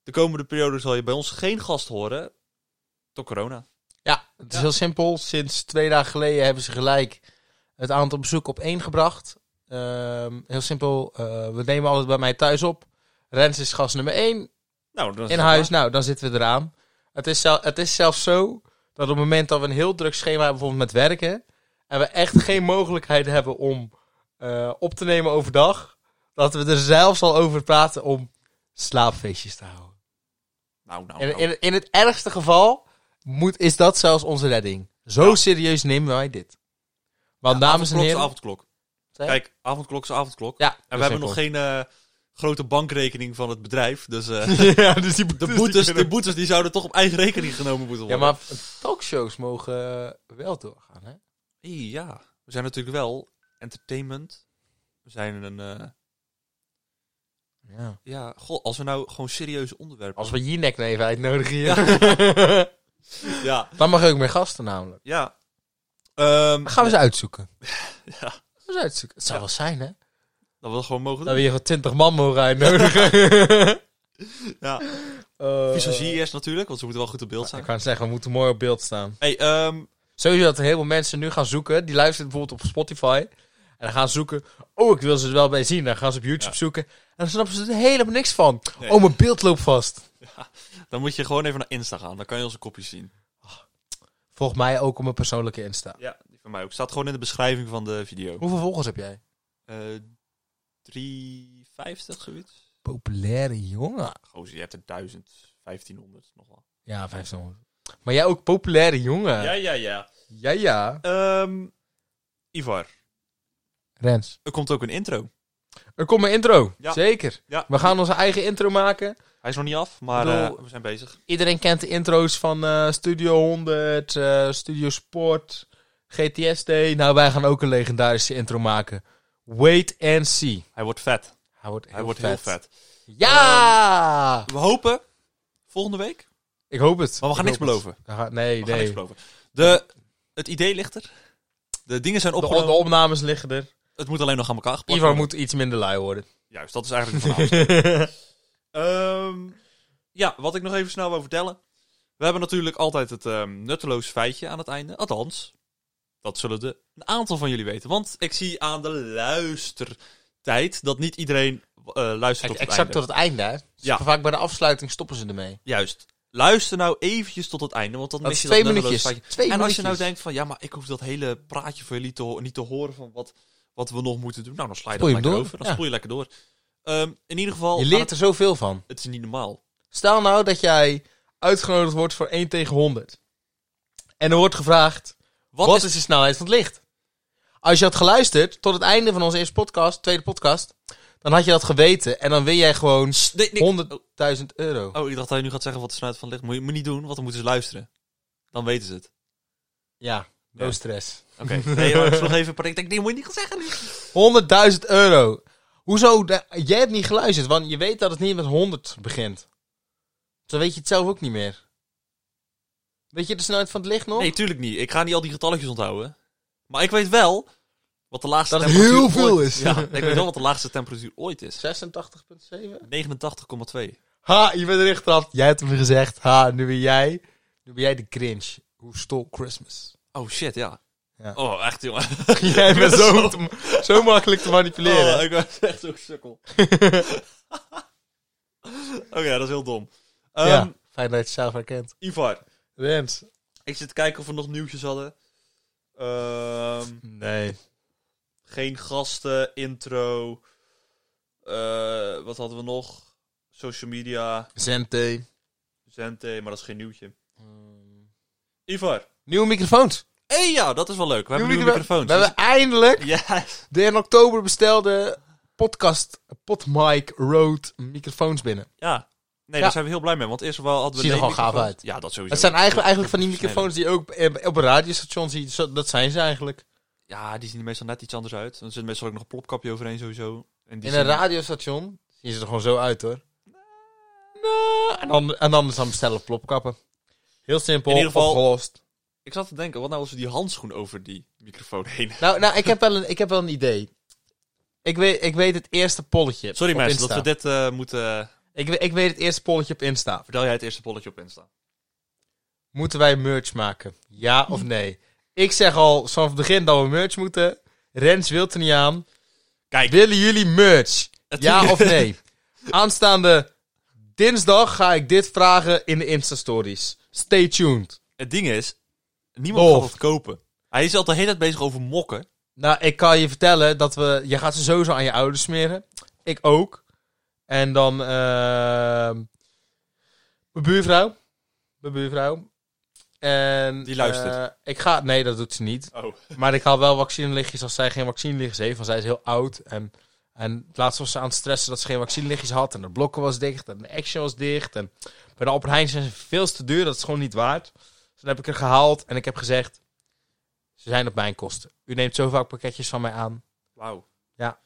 Speaker 2: De komende periode zal je bij ons geen gast horen. Door corona.
Speaker 1: Ja, het is
Speaker 2: Ja.
Speaker 1: heel simpel. Sinds twee dagen geleden hebben ze gelijk het aantal bezoeken op één gebracht. Ehm, heel simpel, eh, we nemen altijd bij mij thuis op. Rens is gast nummer één.
Speaker 2: Nou, dan is
Speaker 1: in
Speaker 2: dat
Speaker 1: huis,
Speaker 2: maar.
Speaker 1: nou, dan zitten we eraan. Het is, zel- het is zelfs zo dat op het moment dat we een heel druk schema hebben, bijvoorbeeld met werken, en we echt geen mogelijkheid hebben om eh, op te nemen overdag, dat we er zelfs al over praten om slaapfeestjes te houden.
Speaker 2: Nou, nou,
Speaker 1: En
Speaker 2: nou.
Speaker 1: in, in het ergste geval moet, is dat zelfs onze redding. Zo
Speaker 2: Ja.
Speaker 1: serieus nemen wij dit. Want dames en
Speaker 2: Avondklok is
Speaker 1: heren...
Speaker 2: avondklok.
Speaker 1: Zeg?
Speaker 2: Kijk, avondklok is avondklok.
Speaker 1: ja,
Speaker 2: en we hebben nog geen eh, grote bankrekening van het bedrijf. Dus eh,
Speaker 1: ja, dus die
Speaker 2: de, boetes, de boetes die zouden toch op eigen rekening genomen moeten
Speaker 1: Ja,
Speaker 2: worden.
Speaker 1: maar talkshows mogen eh, wel doorgaan, hè?
Speaker 2: Hey, ja, we zijn natuurlijk wel entertainment. We zijn een... eh,
Speaker 1: Ja.
Speaker 2: ja, goh, als we nou gewoon serieuze onderwerpen...
Speaker 1: Als we Jinek nou even uitnodigen hier.
Speaker 2: Ja,
Speaker 1: Dan mag ik meer gasten namelijk.
Speaker 2: ja. Ehm,
Speaker 1: Dan gaan we ze uitzoeken.
Speaker 2: ja,
Speaker 1: Gaan we ze uitzoeken. Het zou
Speaker 2: Ja.
Speaker 1: wel zijn, hè?
Speaker 2: dat we dat gewoon mogen
Speaker 1: Dat
Speaker 2: doen.
Speaker 1: we hier gewoon 20 man mogen uitnodigen.
Speaker 2: Ja.
Speaker 1: Eh,
Speaker 2: Visagie eerst natuurlijk, want ze moeten wel goed op beeld
Speaker 1: Ik
Speaker 2: zijn.
Speaker 1: kan zeggen, we moeten mooi op beeld staan.
Speaker 2: Hey, ehm,
Speaker 1: Sowieso dat heel veel mensen nu gaan zoeken. Die luisteren bijvoorbeeld op Spotify. En dan gaan ze zoeken. Oh, ik wil ze er wel bij zien. Dan gaan ze op YouTube
Speaker 2: Ja.
Speaker 1: zoeken. En dan snappen ze er helemaal niks van.
Speaker 2: Nee.
Speaker 1: Oh, mijn beeld loopt vast.
Speaker 2: dan moet je gewoon even naar Insta gaan. Dan kan je onze kopjes zien.
Speaker 1: Volg mij ook op mijn persoonlijke Insta.
Speaker 2: Ja, die van mij ook. Staat gewoon in de beschrijving van de video.
Speaker 1: Hoeveel volgers heb jij?
Speaker 2: Eh 350 zoiets?
Speaker 1: Populaire jongen.
Speaker 2: Gozer, je hebt er 1000, 1500 nog wel.
Speaker 1: Ja, 500. Maar jij ook populaire jongen.
Speaker 2: Ja, ja, ja.
Speaker 1: Ja, ja.
Speaker 2: Ehm, Ivar,
Speaker 1: Rens.
Speaker 2: er komt ook een intro.
Speaker 1: Er komt mijn intro.
Speaker 2: Ja.
Speaker 1: Zeker.
Speaker 2: Ja.
Speaker 1: We gaan onze eigen intro maken.
Speaker 2: Hij is nog niet af, maar
Speaker 1: Ik bedoel-
Speaker 2: eh, we zijn bezig.
Speaker 1: Iedereen kent de intro's van eh, Studio 100, eh, Studio Sport, GTSD. Nou, wij gaan ook een legendarische intro maken. Wait and see.
Speaker 2: Hij wordt vet.
Speaker 1: Hij wordt heel,
Speaker 2: Hij wordt
Speaker 1: vet.
Speaker 2: heel vet.
Speaker 1: Ja!
Speaker 2: We hopen volgende week.
Speaker 1: ik hoop het.
Speaker 2: Maar we gaan
Speaker 1: Ik
Speaker 2: niks
Speaker 1: hoop het.
Speaker 2: beloven.
Speaker 1: We gaan- nee,
Speaker 2: We gaan
Speaker 1: nee.
Speaker 2: niks beloven. De, het idee ligt er. De dingen zijn
Speaker 1: de, de
Speaker 2: opgenomen.
Speaker 1: opnames liggen er.
Speaker 2: Het moet alleen nog aan elkaar gepakt
Speaker 1: Ivar
Speaker 2: worden.
Speaker 1: moet iets minder lui worden.
Speaker 2: Juist, dat is eigenlijk het verhaal. Ehm, ja, wat ik nog even snel wil vertellen. We hebben natuurlijk altijd het ehm, nutteloos feitje aan het einde. Althans, dat zullen de, een aantal van jullie weten. Want ik zie aan de luistertijd dat niet iedereen eh, luistert
Speaker 1: Exact
Speaker 2: tot het einde.
Speaker 1: tot het einde. hè. Dus
Speaker 2: Ja.
Speaker 1: Vaak bij de afsluiting stoppen ze ermee.
Speaker 2: Juist. Luister nou eventjes tot het einde, want dan
Speaker 1: Dat
Speaker 2: mis
Speaker 1: is
Speaker 2: je
Speaker 1: twee
Speaker 2: dat
Speaker 1: minuutjes.
Speaker 2: nutteloos
Speaker 1: Twee
Speaker 2: feitje.
Speaker 1: minuutjes.
Speaker 2: En als je nou denkt van, ja, maar ik hoef dat hele praatje van jullie te ho- niet te horen van wat, wat we nog moeten doen. Nou, dan sla je dat
Speaker 1: Spoel je
Speaker 2: lekker
Speaker 1: hem door,
Speaker 2: over. Dan
Speaker 1: ja.
Speaker 2: spoel je lekker door. Ehm, in ieder geval,
Speaker 1: Je
Speaker 2: aan
Speaker 1: leert
Speaker 2: het,
Speaker 1: er zoveel van.
Speaker 2: het is niet normaal.
Speaker 1: Stel nou dat jij uitgenodigd wordt voor 1 tegen 100. En er wordt gevraagd, wat, is... de snelheid van het licht? Als je had geluisterd tot het einde van onze eerste podcast, tweede podcast, dan had je dat geweten en dan win jij gewoon
Speaker 2: Nee, nee.
Speaker 1: 100.000 euro.
Speaker 2: Oh, ik dacht dat je nu gaat zeggen wat de snelheid van het licht. Moet je moet je niet doen, want dan moeten ze luisteren. Dan weten ze het.
Speaker 1: Ja, no
Speaker 2: Ja.
Speaker 1: stress.
Speaker 2: Oké. Nee, maar ik sloeg even een Ik denk, nee, moet je niet gaan zeggen. nu.
Speaker 1: 100.000 euro. Hoezo? Da- Jij hebt niet geluisterd, want je weet dat het niet met 100 begint. Dan weet je het zelf ook niet meer. Weet je de snelheid van het licht nog?
Speaker 2: Nee, tuurlijk niet. Ik ga niet al die getalletjes onthouden. Maar ik weet wel wat de laagste
Speaker 1: Dat het
Speaker 2: temperatuur
Speaker 1: heel veel
Speaker 2: ooit-
Speaker 1: is.
Speaker 2: Ja, ik weet wel wat de laagste temperatuur ooit is.
Speaker 1: 86.7?
Speaker 2: 89,2.
Speaker 1: Ha, je bent erin getrapt. Jij hebt hem gezegd. Ha, nu ben jij. Nu ben jij de cringe. Hoe stole Christmas?
Speaker 2: Oh, shit, ja.
Speaker 1: Ja.
Speaker 2: Oh, echt, jongen.
Speaker 1: jij bent zo, zo makkelijk te manipuleren.
Speaker 2: Oh, ik was echt zo'n sukkel. Oké, dat is heel dom. Ehm,
Speaker 1: ja, fijn dat je het zelf herkent.
Speaker 2: Ivar,
Speaker 1: Rens.
Speaker 2: ik zit te kijken of we nog nieuwtjes hadden. Ehm...
Speaker 1: Nee.
Speaker 2: Geen gasten, intro. Eh, wat hadden we nog? Social media,
Speaker 1: Zente.
Speaker 2: Zente, maar dat is geen nieuwtje. Ivar.
Speaker 1: Nieuwe microfoons.
Speaker 2: Hé ja, dat is wel leuk. We hebben nieuwe
Speaker 1: micro-
Speaker 2: microfoons.
Speaker 1: We hebben eindelijk
Speaker 2: Dus- Yes.
Speaker 1: de in oktober bestelde podcast Podmic Road microfoons binnen.
Speaker 2: Ja. Nee,
Speaker 1: Ja.
Speaker 2: daar zijn we heel blij mee, want eerst wel hadden
Speaker 1: Ziet
Speaker 2: we...
Speaker 1: er
Speaker 2: nee
Speaker 1: gewoon gaaf
Speaker 2: microfoons.
Speaker 1: uit.
Speaker 2: Ja, dat sowieso.
Speaker 1: Het zijn eigenlijk, eigenlijk van die microfoons die je ook eh, op een radiostation ziet. Zo- Dat zijn ze eigenlijk.
Speaker 2: Ja, die zien er meestal net iets anders uit. Dan zit meestal ook nog een plopkapje overheen sowieso. En die
Speaker 1: In een
Speaker 2: zien-
Speaker 1: radiostation zien ze er gewoon zo uit hoor. Nou, En dan, en dan is dan bestellen plopkappen. Heel simpel,
Speaker 2: In ieder geval-
Speaker 1: opgelost.
Speaker 2: Ik zat te denken, wat nou als we die handschoen over die microfoon heen...
Speaker 1: Nou, nou ik, heb wel een, ik heb wel een idee. Ik weet, ik weet het eerste polletje
Speaker 2: Sorry
Speaker 1: op
Speaker 2: mensen,
Speaker 1: Insta.
Speaker 2: dat we dit eh, moeten...
Speaker 1: ik, we- ik weet het eerste polletje op Insta.
Speaker 2: Vertel jij het eerste polletje op Insta.
Speaker 1: Moeten wij merch maken? Ja of nee? Ik zeg al vanaf het begin dat we merch moeten. Rens wil er niet aan.
Speaker 2: Kijk.
Speaker 1: Willen jullie merch?
Speaker 2: Het-
Speaker 1: Ja of nee? Aanstaande dinsdag ga ik dit vragen in de Insta-stories. Stay tuned.
Speaker 2: Het ding is, niemand
Speaker 1: Wolf.
Speaker 2: gaat het kopen. Hij is al de hele tijd bezig over mokken.
Speaker 1: Nou, ik kan je vertellen dat we... Je gaat ze sowieso aan je ouders smeren. Ik ook. En dan ehm, mijn buurvrouw. Mijn buurvrouw. En,
Speaker 2: Die luistert.
Speaker 1: eh, ik ga... Nee, dat doet ze niet.
Speaker 2: Oh.
Speaker 1: Maar ik haal wel vaccinelichtjes als zij geen vaccinelichtjes heeft. Want zij is heel oud. En, en laatst was ze aan het stressen dat ze geen vaccinelichtjes had. En de blokken was dicht. En de action was dicht. En bij de Albert Heijn zijn ze veel te duur. Dat is gewoon niet waard. Dus dan heb ik er gehaald. En ik heb gezegd. Ze zijn op mijn kosten. U neemt zo vaak pakketjes van mij aan.
Speaker 2: Wauw.
Speaker 1: Ja.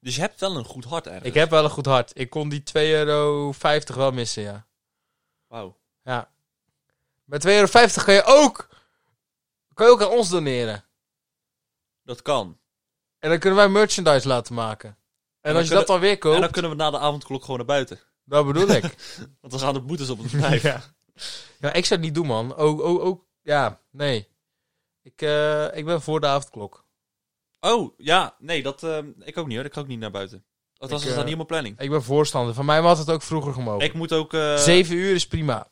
Speaker 2: Dus je hebt wel een goed hart ergens.
Speaker 1: Ik heb wel een goed hart. Ik kon die 2,50 euro wel missen, ja.
Speaker 2: Wauw.
Speaker 1: ja. Met 2,50 euro kan je ook... Kan je ook aan ons doneren.
Speaker 2: Dat kan.
Speaker 1: En dan kunnen wij merchandise laten maken. En,
Speaker 2: dan
Speaker 1: als je dat dan weer koopt...
Speaker 2: En dan kunnen we na de avondklok gewoon naar buiten.
Speaker 1: Dat bedoel ik.
Speaker 2: Want we gaan de boetes op het bedrijf.
Speaker 1: ja. ja, ik zou het niet doen, man. Ook, ook, ook ja, nee. Ik, eh, ik ben voor de avondklok.
Speaker 2: Oh, ja. Nee, dat... ehm, ik ook niet hoor. Ik ga ook niet naar buiten. Dat was
Speaker 1: Ik,
Speaker 2: dat
Speaker 1: eh,
Speaker 2: niet in mijn planning.
Speaker 1: Ik ben voorstander. Van mij had het ook vroeger gemogen.
Speaker 2: Ik moet ook... eh,
Speaker 1: Zeven uur is prima.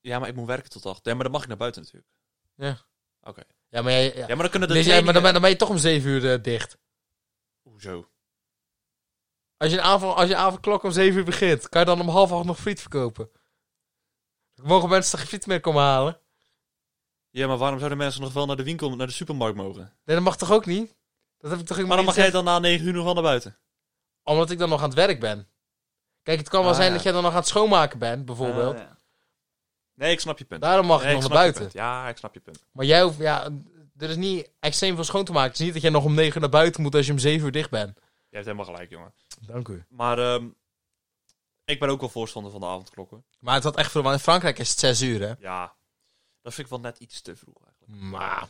Speaker 2: Ja, maar ik moet werken tot acht. Ja, maar dan mag ik naar buiten natuurlijk.
Speaker 1: Ja, maar, jij, ja.
Speaker 2: Ja, maar dan kunnen de
Speaker 1: Dus jij- maar dan, ben,
Speaker 2: trainingen-
Speaker 1: dan ben je toch om zeven uur eh, dicht.
Speaker 2: Hoezo?
Speaker 1: Als je, een avond, als je avondklok om zeven uur begint, kan je dan om half acht nog friet verkopen? Dan Mogen mensen toch geen friet meer komen halen?
Speaker 2: Ja, maar waarom zouden mensen nog wel naar de winkel, naar de supermarkt mogen?
Speaker 1: Nee, dat mag toch ook niet? Dat heb ik toch ook
Speaker 2: Maar dan
Speaker 1: niet
Speaker 2: mag jij
Speaker 1: gezegd?
Speaker 2: dan na negen uur nog wel naar buiten.
Speaker 1: Omdat ik dan nog aan het werk ben. Kijk, het kan wel
Speaker 2: Ah,
Speaker 1: zijn
Speaker 2: ja.
Speaker 1: dat jij dan nog aan het schoonmaken bent, bijvoorbeeld.
Speaker 2: Ah, ja. Nee, ik snap je punt.
Speaker 1: Daarom mag
Speaker 2: Nee,
Speaker 1: ik
Speaker 2: ik
Speaker 1: nog
Speaker 2: snap
Speaker 1: naar
Speaker 2: je
Speaker 1: buiten.
Speaker 2: punt. Ja, ik snap je punt.
Speaker 1: Maar jij hoeft, ja, er is niet extreem veel schoon te maken. Het is niet dat jij nog om negen uur naar buiten moet als je om zeven uur dicht bent.
Speaker 2: Je hebt helemaal gelijk, jongen.
Speaker 1: Dank u.
Speaker 2: Maar ehm, ik ben ook wel voorstander van de avondklokken.
Speaker 1: Maar het had echt veel, want in Frankrijk is het zes uur, hè?
Speaker 2: Ja, dat vind ik wel net iets te vroeg eigenlijk.
Speaker 1: Maar.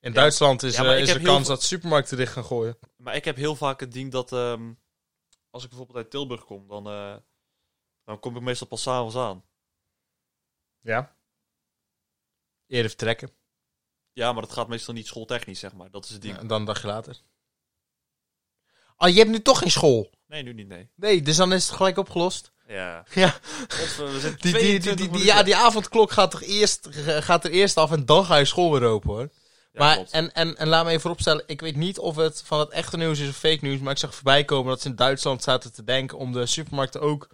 Speaker 1: In Duitsland is,
Speaker 2: Ja, maar
Speaker 1: eh,
Speaker 2: ik
Speaker 1: is
Speaker 2: heb
Speaker 1: er
Speaker 2: heel
Speaker 1: kans
Speaker 2: veel-
Speaker 1: dat supermarkten dicht gaan gooien.
Speaker 2: Maar ik heb heel vaak het ding dat ehm, als ik bijvoorbeeld uit Tilburg kom, dan, eh, dan kom ik meestal pas s'avonds aan.
Speaker 1: Ja. Eerder vertrekken.
Speaker 2: Ja, maar dat gaat meestal niet schooltechnisch, zeg maar. Dat is het ding.
Speaker 1: Ja, en dan een dagje later. Ah, je hebt nu toch geen school?
Speaker 2: Nee, nu niet, nee.
Speaker 1: Nee, dus dan is het gelijk opgelost.
Speaker 2: Ja.
Speaker 1: Ja,
Speaker 2: Godver, we zijn
Speaker 1: die, die, die, die, die- ja, die avondklok gaat, toch eerst, gaat er eerst af en dan ga je school weer open, hoor. maar, en, en, en laat me even vooropstellen, ik weet niet of het van het echte nieuws is of fake nieuws, maar ik zag voorbij komen dat ze in Duitsland zaten te denken om de supermarkten ook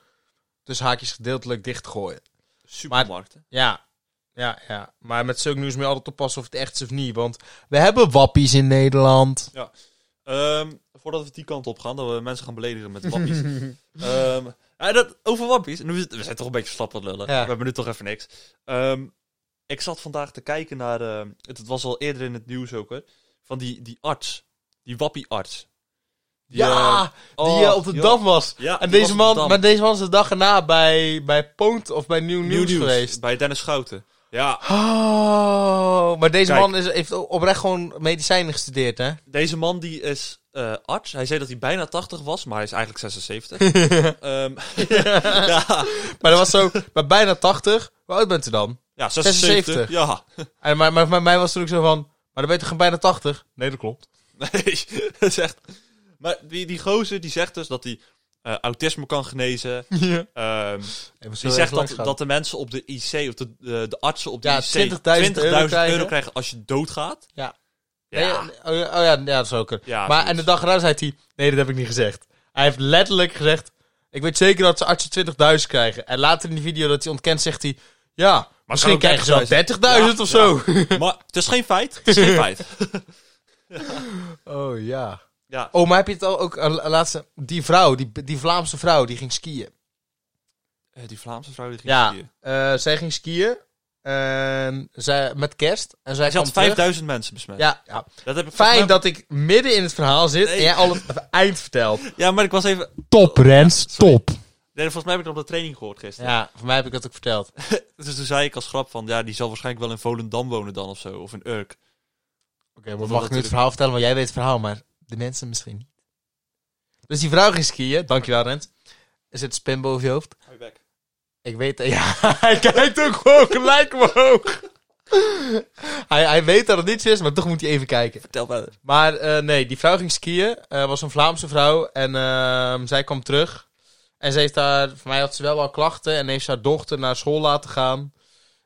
Speaker 1: tussen haakjes gedeeltelijk dicht te gooien.
Speaker 2: supermarkten.
Speaker 1: Ja, ja, ja. Maar met zulk nieuws moet je altijd oppassen of het echt is of niet, want we hebben wappies in Nederland.
Speaker 2: Ehm, voordat we die kant op gaan, dat we mensen gaan beledigen met wappies. Ehm, ja, dat, over wappies. Nu, is het- we zijn toch een beetje slap aan het lullen.
Speaker 1: Ja.
Speaker 2: We hebben nu toch even niks. Ehm, ik zat vandaag te kijken naar... ehm, het, het was al eerder in het nieuws ook, hè. Van die, die arts. Die wappie-arts. Die,
Speaker 1: ja,
Speaker 2: ehm,
Speaker 1: die
Speaker 2: oh,
Speaker 1: eh, op de
Speaker 2: joh.
Speaker 1: Dam was.
Speaker 2: Ja,
Speaker 1: En deze
Speaker 2: die was op de
Speaker 1: man,
Speaker 2: Dam.
Speaker 1: maar deze man is de dag erna bij, bij Poont of bij Nieuw,
Speaker 2: Nieuw
Speaker 1: nieuws, geweest.
Speaker 2: Bij Dennis Schouten. Ja,
Speaker 1: Oh, maar deze
Speaker 2: Kijk.
Speaker 1: man is, heeft oprecht gewoon medicijnen gestudeerd, hè?
Speaker 2: deze man die is eh, arts. Hij zei dat hij bijna 80 was, maar hij is eigenlijk 76. Ehm, ja,
Speaker 1: Maar dat was zo, bij bijna 80. Hoe oud bent u dan?
Speaker 2: ja,
Speaker 1: 76.
Speaker 2: 76. Ja.
Speaker 1: En, maar, maar bij mij was toen ook zo van... Maar dan ben je toch bijna 80? Nee, dat klopt.
Speaker 2: Nee, dat is echt... Maar die, die gozer die zegt dus dat hij eh, autisme kan genezen.
Speaker 1: Ja.
Speaker 2: Ehm, die zegt dat, dat de mensen op de IC, of de, de, de artsen op de
Speaker 1: Ja,
Speaker 2: IC,
Speaker 1: 20.000 euro krijgen.
Speaker 2: krijgen als je doodgaat.
Speaker 1: Ja.
Speaker 2: Ja,
Speaker 1: Nee, oh, ja, oh ja, ja, dat is ook een...
Speaker 2: Ja,
Speaker 1: maar,
Speaker 2: zoiets.
Speaker 1: en de dag erna zei hij... Nee, dat heb ik niet gezegd. Hij heeft letterlijk gezegd... Ik weet zeker dat ze artsen 20.000 krijgen. En later in die video dat hij ontkent zegt hij... Ja, misschien
Speaker 2: ook
Speaker 1: krijgen ze wel 30.000
Speaker 2: Ja,
Speaker 1: of zo.
Speaker 2: maar het is geen feit. Het is geen feit.
Speaker 1: Oh ja.
Speaker 2: Ja,
Speaker 1: Oh, maar heb je het al ook... eh, laatste, die vrouw, die, die Vlaamse vrouw, die ging skiën.
Speaker 2: eh, die Vlaamse vrouw die ging
Speaker 1: Ja,
Speaker 2: skiën.
Speaker 1: eh, zij ging skiën. En zij, met kerst. En zij
Speaker 2: Hij
Speaker 1: kwam
Speaker 2: had
Speaker 1: terug.
Speaker 2: 5000 mensen besmet.
Speaker 1: Ja, ja,
Speaker 2: Dat heb ik
Speaker 1: Fijn
Speaker 2: volgens
Speaker 1: dat ik midden in het verhaal zit
Speaker 2: Nee.
Speaker 1: en jij al het eind vertelt.
Speaker 2: mij- Ja, maar ik was even...
Speaker 1: Top, Rens, top.
Speaker 2: Nee, volgens mij heb ik dat op de training gehoord gisteren.
Speaker 1: Ja, voor mij heb ik dat ook verteld.
Speaker 2: Dus toen zei ik als grap van... Ja, die zal waarschijnlijk wel in Volendam wonen dan of zo. Of in Urk.
Speaker 1: Oké, maar
Speaker 2: Dat was
Speaker 1: mag ik nu
Speaker 2: natuurlijk-
Speaker 1: het verhaal vertellen? Want jij weet het verhaal, maar de mensen misschien niet. Dus die vrouw ging skiën. Dankjewel, Rens. Er zit spin boven je hoofd.
Speaker 2: Hou je bek.
Speaker 1: Ik weet... Ja, hij kijkt ook gewoon gelijk omhoog. hij, hij weet dat het niets is, maar toch moet hij even kijken.
Speaker 2: Vertel verder.
Speaker 1: Maar eh, nee, die vrouw ging skiën. eh, was een Vlaamse vrouw. En ehm, zij kwam terug. En ze heeft daar, voor mij had ze wel wel klachten. En heeft ze haar dochter naar school laten gaan.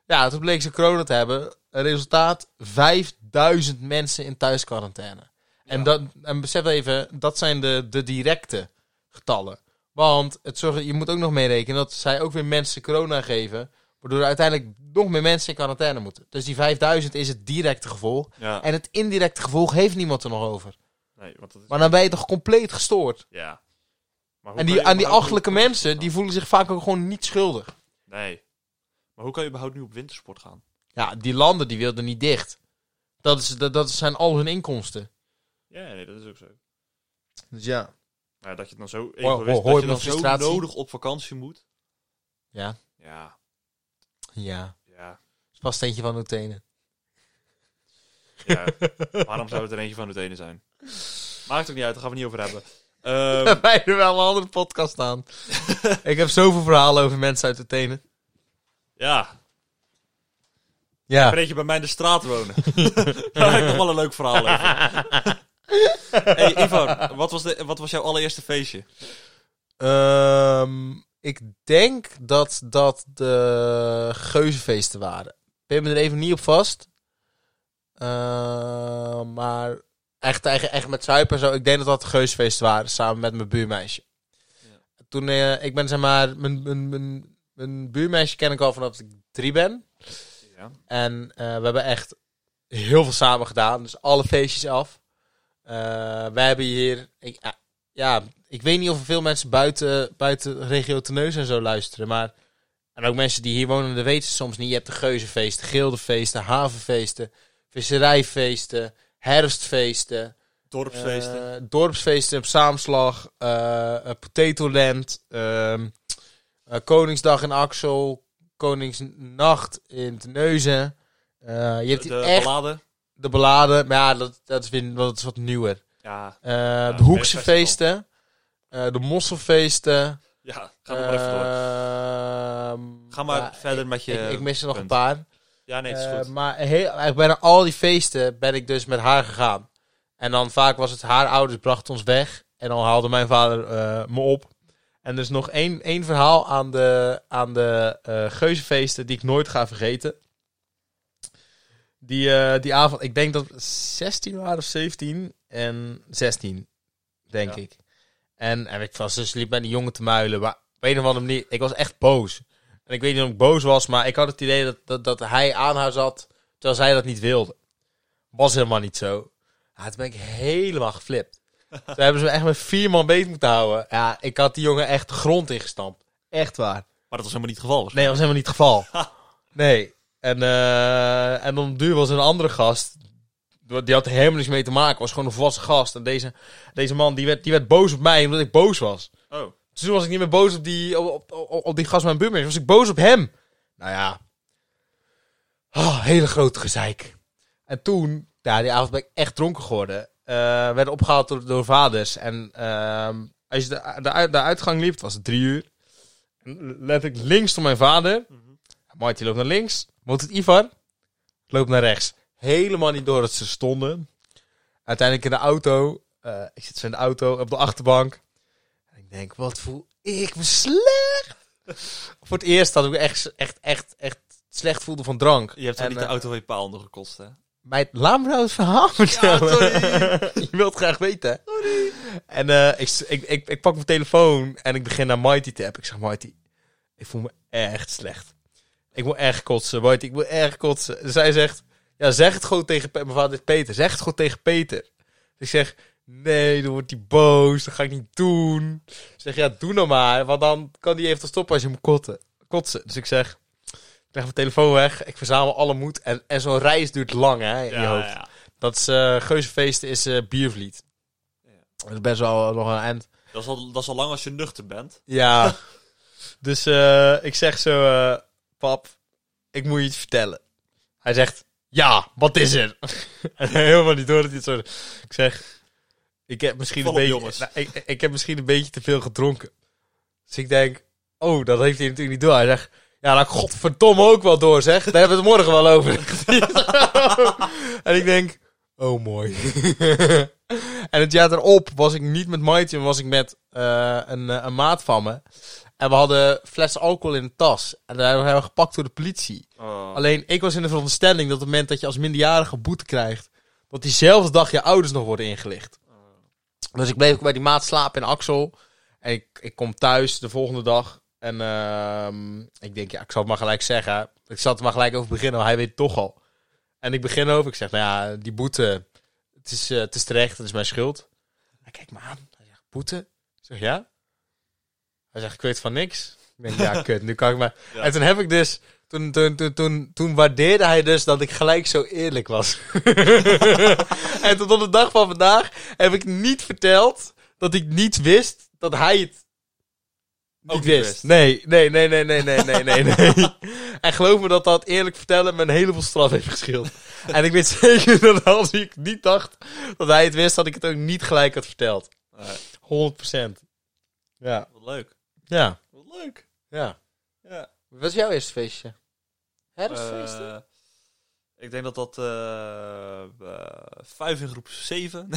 Speaker 1: Ja, toen bleek ze corona te hebben. Resultaat: 5000 mensen in thuisquarantaine. En, dat, en besef even, dat zijn de, de directe getallen. Want het zorgt, je moet ook nog meerekenen dat zij ook weer mensen corona geven. Waardoor er uiteindelijk nog meer mensen in quarantaine moeten. Dus die 5000 is het directe gevolg.
Speaker 2: Ja,
Speaker 1: En het indirecte gevolg heeft niemand er nog over.
Speaker 2: nee, want dat is...
Speaker 1: Maar dan ben je toch compleet gestoord.
Speaker 2: Ja. Maar hoe
Speaker 1: En die,
Speaker 2: kan je
Speaker 1: aan die
Speaker 2: überhaupt
Speaker 1: achterlijke
Speaker 2: nu op-
Speaker 1: mensen, die voelen zich vaak ook gewoon niet schuldig.
Speaker 2: Nee. Maar hoe kan je überhaupt nu op wintersport gaan?
Speaker 1: Ja, die landen die wilden niet dicht. Dat, is, dat, dat zijn al hun inkomsten.
Speaker 2: Ja, nee, dat is ook zo.
Speaker 1: Dus ja.
Speaker 2: Ja, dat je dan zo
Speaker 1: ho-
Speaker 2: egoïst,
Speaker 1: hoor je
Speaker 2: dat je
Speaker 1: mijn
Speaker 2: dan zo
Speaker 1: frustratie?
Speaker 2: nodig op vakantie moet.
Speaker 1: Ja,
Speaker 2: Ja,
Speaker 1: ja.
Speaker 2: ja,
Speaker 1: Het was steentje van de tenen.
Speaker 2: ja. Waarom zou het er eentje van het ene zijn? Maakt ook niet uit, daar gaan we niet over hebben. Ehm,
Speaker 1: Wij hebben wel een andere podcast aan. ik heb zoveel verhalen over mensen uit de tenen.
Speaker 2: ja,
Speaker 1: Ja.
Speaker 2: Breek je bij mij in de straat wonen. Daar heb ik nog wel een leuk verhaal over. hey, Ivan, wat was, de, wat was jouw allereerste feestje?
Speaker 1: Ehm, ik denk dat dat de geuzenfeesten waren. Ik ben er even niet op vast. Ehm, maar echt, echt, echt met zuipen en zo. Ik denk dat dat de geuzenfeesten waren. Samen met mijn buurmeisje. Toen eh, ik ben zeg maar... Mijn, mijn, mijn, mijn buurmeisje ken ik al vanaf ik drie ben.
Speaker 2: Ja.
Speaker 1: En eh, we hebben echt heel veel samen gedaan. Dus alle feestjes af. Eh, wij hebben hier... Ik, ah, ja, ik weet niet of er veel mensen buiten, buiten regio Teneus en zo luisteren. Maar, en ook mensen die hier wonen, dat weten ze soms niet. Je hebt de geuzenfeesten, gildenfeesten, havenfeesten, visserijfeesten, herfstfeesten.
Speaker 2: Dorpsfeesten.
Speaker 1: eh, dorpsfeesten op Saamslag. eh eh, Potatoland. ehm, eh, Koningsdag in Axel. Koningsnacht in Teneuzen. Eh, je hebt
Speaker 2: de
Speaker 1: hier echt
Speaker 2: ballade.
Speaker 1: de beladen. Maar ja, dat, dat, is weer, dat is wat nieuwer.
Speaker 2: Ja,
Speaker 1: Eh,
Speaker 2: het
Speaker 1: de Hoekse
Speaker 2: Festival.
Speaker 1: feesten. eh, de Mosselfeesten.
Speaker 2: ja ga nog maar even door.
Speaker 1: ehm,
Speaker 2: Ga maar
Speaker 1: ja,
Speaker 2: verder met je...
Speaker 1: Ik, ik mis er nog
Speaker 2: punt.
Speaker 1: een paar.
Speaker 2: Ja, nee, het is
Speaker 1: Eh,
Speaker 2: goed.
Speaker 1: maar heel, eigenlijk bijna al die feesten ben ik dus met haar gegaan. En dan vaak was het haar ouders brachten ons weg. En dan haalde mijn vader eh, me op. En er is nog één, één verhaal aan de, aan de eh, geuzenfeesten die ik nooit ga vergeten. Die, eh, die avond, ik denk dat we 16 waren of 17 en 16, denk
Speaker 2: Ja.
Speaker 1: ik. En, en ik was dus liep bij die jongen te muilen. Maar op een of andere manier, ik was echt boos. En ik weet niet of ik boos was, maar ik had het idee dat, dat, dat hij aan haar zat terwijl zij dat niet wilde. Was helemaal niet zo. Ja, toen ben ik helemaal geflipt. Toen hebben ze me echt met vier man beet moeten houden. Ja, ik had die jongen echt de grond ingestampt. Echt waar.
Speaker 2: Maar dat was helemaal niet het geval.
Speaker 1: Nee, dat was helemaal niet het geval. Nee. En, eh en om de duur was er een andere gast. Die had er helemaal niks mee te maken. Was gewoon een volwassen gast. En deze, deze man die werd, die werd boos op mij omdat ik boos was.
Speaker 2: Oh,
Speaker 1: Dus toen was ik niet meer boos op die, op, op, op, op die gast met mijn buurman. Was ik boos op hem. Nou ja. Ah, hele grote gezeik. En toen, ja, die avond ben ik echt dronken geworden. Eh werden opgehaald door, door vaders. En ehm, als je de, de, uit- de uitgang liep, het was drie uur. En Let ik links van mijn vader. Marty loopt naar links. Moet het Ivar? Loopt naar rechts. Helemaal niet door dat ze stonden. Uiteindelijk in de auto. eh, ik zit zo in de auto op de achterbank. En ik denk, wat voel ik me slecht. Voor het eerst dat ik me echt, echt, echt, echt slecht voelde van drank.
Speaker 2: je hebt toch
Speaker 1: En,
Speaker 2: niet de
Speaker 1: eh,
Speaker 2: auto van je pa onder gekost, hè?
Speaker 1: mijn, laat me nou het verhaal vertellen.
Speaker 2: sorry.
Speaker 1: je wilt het graag weten. Sorry. En eh, ik, s- ik, ik, ik pak mijn telefoon en ik begin naar Mighty te appen. Ik zeg, Mighty, ik voel me echt slecht. Ik moet erg kotsen, Mighty. Ik moet erg kotsen. En zij zegt, ja, zeg het gewoon tegen Pe- Mijn vader is Peter. Zeg het gewoon tegen Peter. Dus ik zeg, nee, dan wordt hij boos. Dat ga ik niet doen. Ik zeg, ja, doe nou maar. Want dan kan hij even stoppen als je moet kotten, kotsen. Dus ik zeg... Ik leg mijn telefoon weg, ik verzamel alle moed. En, en zo'n reis duurt lang, hè, in je hoofd.
Speaker 2: ja.
Speaker 1: Dat is, eh Geuzenfeesten is eh, Biervliet. Dat is best wel nog een eind.
Speaker 2: Dat, is al, dat is al lang als je nuchter bent.
Speaker 1: Ja. dus eh, ik zeg zo, eh, pap, ik moet je iets vertellen. Hij zegt, ja, wat is er? en helemaal niet door dat hij het zo... Ik zeg, ik heb misschien, een
Speaker 2: Volop,
Speaker 1: beetje,
Speaker 2: jongens.
Speaker 1: nou, ik, ik heb misschien een beetje te veel gedronken. Dus ik denk, oh, dat heeft hij natuurlijk niet door. Hij zegt, ja, dat godverdomme ook wel door, zeg. Daar hebben we het morgen wel over. en ik denk, oh, mooi. en het jaar erop was ik niet met Mighty, maar was ik met eh, een, eh, een maat van me. En we hadden flessen alcohol in de tas. En daar hebben we gepakt door de politie.
Speaker 2: Oh.
Speaker 1: Alleen, ik was in de veronderstelling dat op het moment dat je als minderjarige boete krijgt... dat diezelfde dag je ouders nog worden ingelicht.
Speaker 2: Oh.
Speaker 1: Dus ik bleef ook bij die maat slapen in Axel. En ik, ik kom thuis de volgende dag. En ehm, ik denk, ja, ik zal het maar gelijk zeggen. Ik zal het maar gelijk over beginnen, want hij weet het toch al. En ik begin over. Ik zeg, nou ja, die boete. Het is, eh, het is terecht, het is mijn schuld. Hij kijkt me aan. Hij zegt, boete? Ik zeg, ja? Hij zegt, ik weet van niks. Ik denk, ja, kut, nu kan ik maar...
Speaker 2: Ja.
Speaker 1: En toen heb ik dus... Toen, toen, toen, toen, toen waardeerde hij dus dat ik gelijk zo eerlijk was. en tot op de dag van vandaag heb ik niet verteld dat ik niet wist dat hij het niet,
Speaker 2: niet
Speaker 1: wist.
Speaker 2: wist.
Speaker 1: Nee, nee, nee, nee, nee, nee, nee, nee, nee. en geloof me dat dat eerlijk vertellen me een heleboel straf heeft geschild. en ik weet zeker dat als ik niet dacht dat hij het wist, dat ik het ook niet gelijk had verteld.
Speaker 2: Nee.
Speaker 1: 100%. Ja.
Speaker 2: Eh, Wat leuk.
Speaker 1: Ja.
Speaker 2: Wat leuk.
Speaker 1: Ja.
Speaker 2: Ja.
Speaker 1: Wat is jouw eerste feestje?
Speaker 2: Eh, ik denk dat dat eh, eh, vijf in groep zeven.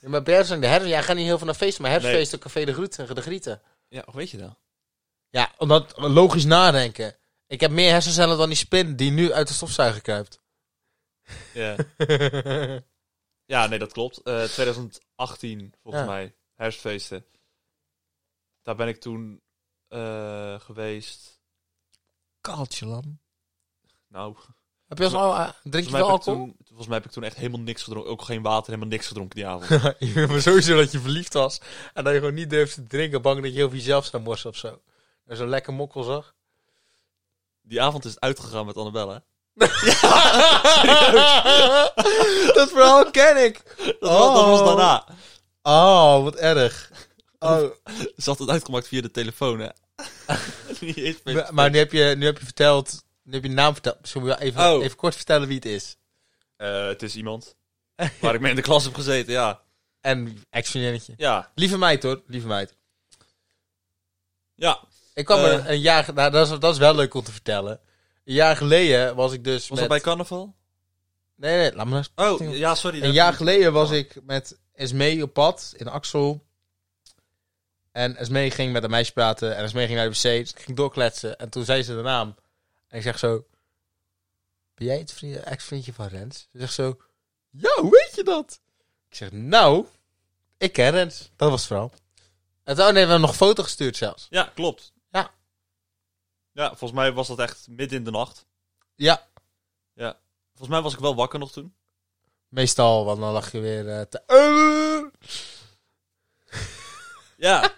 Speaker 1: Ja, maar bij herfst, de herfst, jij gaat niet heel veel naar feesten, maar herfstfeesten, café de Groeten, de Grieten.
Speaker 2: ja, hoe weet je dat?
Speaker 1: Ja, omdat logisch nadenken. Ik heb meer hersencellen dan die spin die nu uit de stofzuiger kruipt.
Speaker 2: Ja. ja, nee, dat klopt. Eh, 2018, volgens
Speaker 1: Ja.
Speaker 2: mij. Herfstfeesten. Daar ben ik toen eh, geweest.
Speaker 1: Kaaltje lam.
Speaker 2: Nou,
Speaker 1: Heb je als al, eh, drink je wel
Speaker 2: volgens
Speaker 1: alcohol?
Speaker 2: mij, heb ik toen, volgens mij heb ik toen echt helemaal niks gedronken. Ook geen water, helemaal niks gedronken die avond.
Speaker 1: je weet maar sowieso dat je verliefd was en dat je gewoon niet durfde te drinken, bang dat je over jezelf zou morsen of zo. En zo'n lekker mokkel zag.
Speaker 2: die avond is het uitgegaan met Annabelle.
Speaker 1: dat verhaal ken ik.
Speaker 2: Dat, was, dat was daarna.
Speaker 1: Oh, wat erg. Oh.
Speaker 2: Ze had het uitgemaakt via de telefoon, hè. Niet eens meer.
Speaker 1: Maar- Maar nu heb je, nu heb je verteld, nu heb je naam verteld. Misschien moet je wel even,
Speaker 2: Oh.
Speaker 1: even kort vertellen wie het is.
Speaker 2: Eh, het is iemand waar ik mee in de klas heb gezeten, ja.
Speaker 1: En ex-vriendinnetje.
Speaker 2: Ja,
Speaker 1: Lieve meid hoor, lieve meid.
Speaker 2: ja.
Speaker 1: Ik kwam
Speaker 2: Eh.
Speaker 1: er een jaar, nou, dat, is, dat is wel leuk om te vertellen. Een jaar geleden was ik dus
Speaker 2: Was
Speaker 1: met...
Speaker 2: dat bij carnaval?
Speaker 1: Nee, nee, laat me nou eens
Speaker 2: Oh, ja, sorry.
Speaker 1: Een
Speaker 2: dat-
Speaker 1: jaar geleden was ik met Esmee op pad in Axel. En Esmee ging met een meisje praten. En Esmee ging naar de wc. Dus ik ging doorkletsen. En toen zei ze de naam. En ik zeg zo... Ben jij het vriend- ex-vriendje van Rens? Ze zegt zo... Ja, hoe weet je dat? Ik zeg, nou... Ik ken Rens. Dat was het verhaal. En toen hebben we nog een foto gestuurd zelfs.
Speaker 2: Ja, klopt.
Speaker 1: Ja.
Speaker 2: Ja, volgens mij was dat echt midden in de nacht.
Speaker 1: Ja,
Speaker 2: Volgens mij was ik wel wakker nog toen.
Speaker 1: meestal. Want dan lag je weer eh, te... Eh.
Speaker 2: Ja.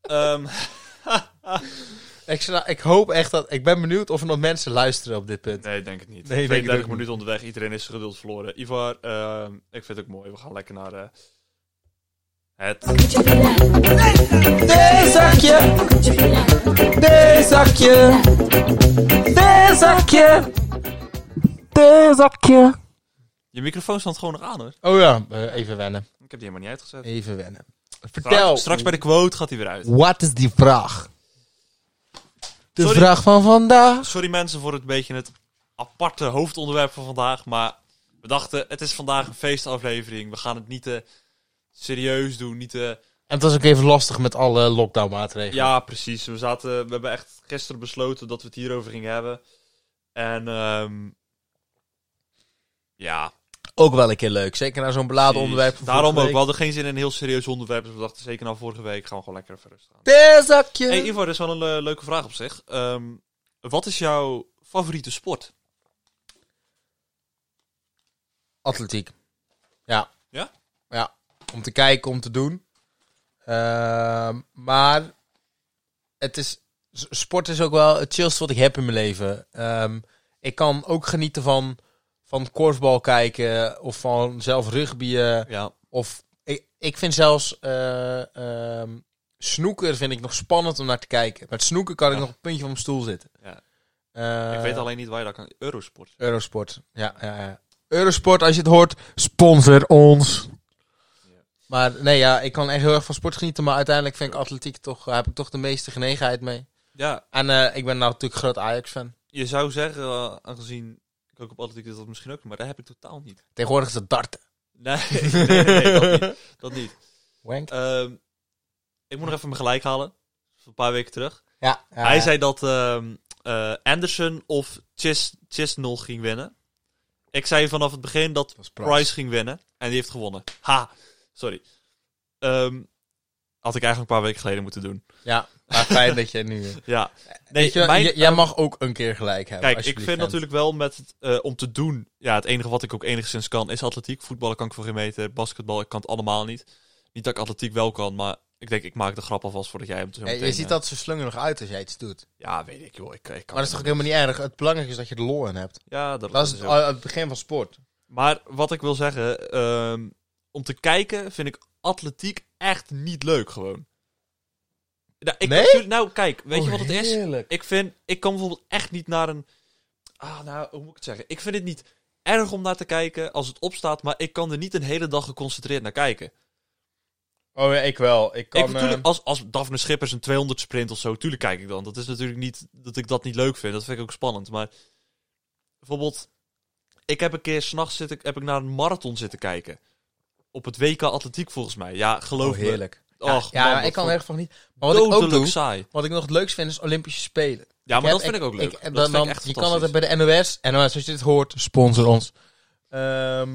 Speaker 2: Ehm,
Speaker 1: Ik, sla- ik hoop echt dat... Ik ben benieuwd of er nog mensen luisteren op dit punt.
Speaker 2: nee, denk het niet.
Speaker 1: Nee, denk het
Speaker 2: 32
Speaker 1: ook
Speaker 2: minuten onderweg. Iedereen is zijn geduld verloren. Ivar, ehm, ik vind het ook mooi. We gaan lekker naar eh, het...
Speaker 3: Theezakje. Theezakje. Theezakje. Theezakje.
Speaker 2: Je microfoon staat gewoon nog aan, hoor.
Speaker 1: Oh ja, eh, even wennen.
Speaker 2: Ik heb die helemaal niet uitgezet.
Speaker 1: Even wennen. Vertel,
Speaker 2: Straks, straks bij de quote gaat hij weer uit.
Speaker 1: wat is die vraag? De
Speaker 2: Sorry.
Speaker 1: vraag van vandaag.
Speaker 2: Sorry mensen voor het beetje het aparte hoofdonderwerp van vandaag. Maar we dachten, het is vandaag een feestaflevering. We gaan het niet te serieus doen. Niet te...
Speaker 1: En het was ook even lastig met alle lockdownmaatregelen.
Speaker 2: Ja, precies. We, zaten, we hebben echt gisteren besloten dat we het hierover gingen hebben. En ehm, ja,
Speaker 1: Ook wel een keer leuk. Zeker naar zo'n beladen onderwerp. van
Speaker 2: daarom ook.
Speaker 1: vorige
Speaker 2: We
Speaker 1: week.
Speaker 2: hadden geen zin in een heel serieus onderwerp. Dus we dachten, zeker na vorige week gaan we gewoon lekker even rustig aan.
Speaker 1: Theezakje.
Speaker 2: Hey Ivo, dat is wel een eh, leuke vraag op zich. Ehm, wat is jouw favoriete sport?
Speaker 1: Atletiek. Ja.
Speaker 2: Ja?
Speaker 1: Ja. Om te kijken, om te doen. Ehm, maar het is, s- sport is ook wel het chillste wat ik heb in mijn leven. Ehm, ik kan ook genieten van, van korfbal kijken of van zelf rugbyen.
Speaker 2: Ja,
Speaker 1: Of ik, ik vind zelfs eh, ehm, snoeker vind ik nog spannend om naar te kijken. Met snoeker kan ik
Speaker 2: Ja.
Speaker 1: nog een puntje van mijn stoel zitten.
Speaker 2: Ja.
Speaker 1: Eh,
Speaker 2: ik weet alleen niet waar je dat kan. Eurosport.
Speaker 1: Eurosport. Ja, ja, ja. Eurosport, als je het hoort, sponsor ons.
Speaker 2: Ja.
Speaker 1: Maar nee, ja, ik kan echt heel erg van sport genieten. Maar uiteindelijk vind ik atletiek toch, eh, heb ik toch de meeste genegenheid mee.
Speaker 2: Ja,
Speaker 1: En eh, ik ben nou natuurlijk groot Ajax-fan.
Speaker 2: Je zou zeggen, eh, aangezien ik ook op atletiek deed, dat misschien ook, maar dat heb ik totaal niet.
Speaker 1: Tegenwoordig is het darten.
Speaker 2: Nee, nee, nee, nee, dat niet. Dat niet.
Speaker 1: Wank.
Speaker 2: Ehm, ik moet nog even mijn gelijk halen. Van Een paar weken terug.
Speaker 1: Ja, ja,
Speaker 2: Hij
Speaker 1: ja.
Speaker 2: zei dat ehm, eh, Anderson of Chis Chisnell ging winnen. Ik zei vanaf het begin dat
Speaker 1: Dat is
Speaker 2: Price, ging winnen. En die heeft gewonnen. Ha! Sorry. Ehm, had ik eigenlijk een paar weken geleden moeten doen.
Speaker 1: Ja, maar fijn dat jij nu... eh,
Speaker 2: Ja.
Speaker 1: weet
Speaker 2: Nee,
Speaker 1: je wel,
Speaker 2: mijn-
Speaker 1: j- jij mag ook een keer gelijk hebben.
Speaker 2: Kijk,
Speaker 1: als
Speaker 2: ik
Speaker 1: je
Speaker 2: vind
Speaker 1: lief bent.
Speaker 2: natuurlijk wel met het, eh, om te doen. Ja, het enige wat ik ook enigszins kan is atletiek. Voetballen kan ik voor geen meter. Basketbal, ik kan het allemaal niet. Niet dat ik atletiek wel kan, maar ik denk, ik maak de grap alvast voordat jij hem zo
Speaker 1: Hey,
Speaker 2: meteen,
Speaker 1: je ziet
Speaker 2: eh,
Speaker 1: dat zo slungerig uit als jij iets doet.
Speaker 2: Ja, weet ik joh. Ik, ik kan
Speaker 1: Maar dat is toch ook helemaal niet erg? Het belangrijke is dat je er lol in hebt.
Speaker 2: Ja, dat,
Speaker 1: Dat is
Speaker 2: is
Speaker 1: het,
Speaker 2: ook.
Speaker 1: al- het begin van sport.
Speaker 2: Maar wat ik wil zeggen, ehm, om te kijken vind ik atletiek echt niet leuk gewoon. Nou, ik
Speaker 1: Nee?
Speaker 2: natuurlijk- nou kijk, weet je
Speaker 1: Oh,
Speaker 2: wat het is?
Speaker 1: heerlijk.
Speaker 2: Ik vind, ik kan bijvoorbeeld echt niet naar een... Ah, nou, hoe moet ik het zeggen? Ik vind het niet erg om naar te kijken als het opstaat, maar ik kan er niet een hele dag geconcentreerd naar kijken.
Speaker 1: Oh ja, ik wel. Ik kan...
Speaker 2: ik, natuurlijk,
Speaker 1: eh,
Speaker 2: als, als Daphne Schippers een 200 sprint of zo, tuurlijk kijk ik dan. Dat is natuurlijk niet dat ik dat niet leuk vind. Dat vind ik ook spannend. Maar bijvoorbeeld, ik heb een keer s'nachts zitten, heb ik naar een marathon zitten kijken. Op het WK Atletiek volgens mij. Ja, geloof
Speaker 1: oh, heerlijk.
Speaker 2: me. Och,
Speaker 1: ja,
Speaker 2: man,
Speaker 1: maar
Speaker 2: wat
Speaker 1: ik kan
Speaker 2: vond
Speaker 1: er echt van niet. Maar wat ik ook
Speaker 2: dodelijk
Speaker 1: doe,
Speaker 2: saai.
Speaker 1: wat ik nog het leukst vind, is Olympische Spelen.
Speaker 2: Ja, maar
Speaker 1: heb-
Speaker 2: dat vind ik ook leuk.
Speaker 1: en
Speaker 2: dat
Speaker 1: dan,
Speaker 2: vind ik
Speaker 1: dan-
Speaker 2: echt
Speaker 1: je kan
Speaker 2: fantastisch.
Speaker 1: dat bij de NOS. NOS, als je dit hoort, sponsor ons. Ehm,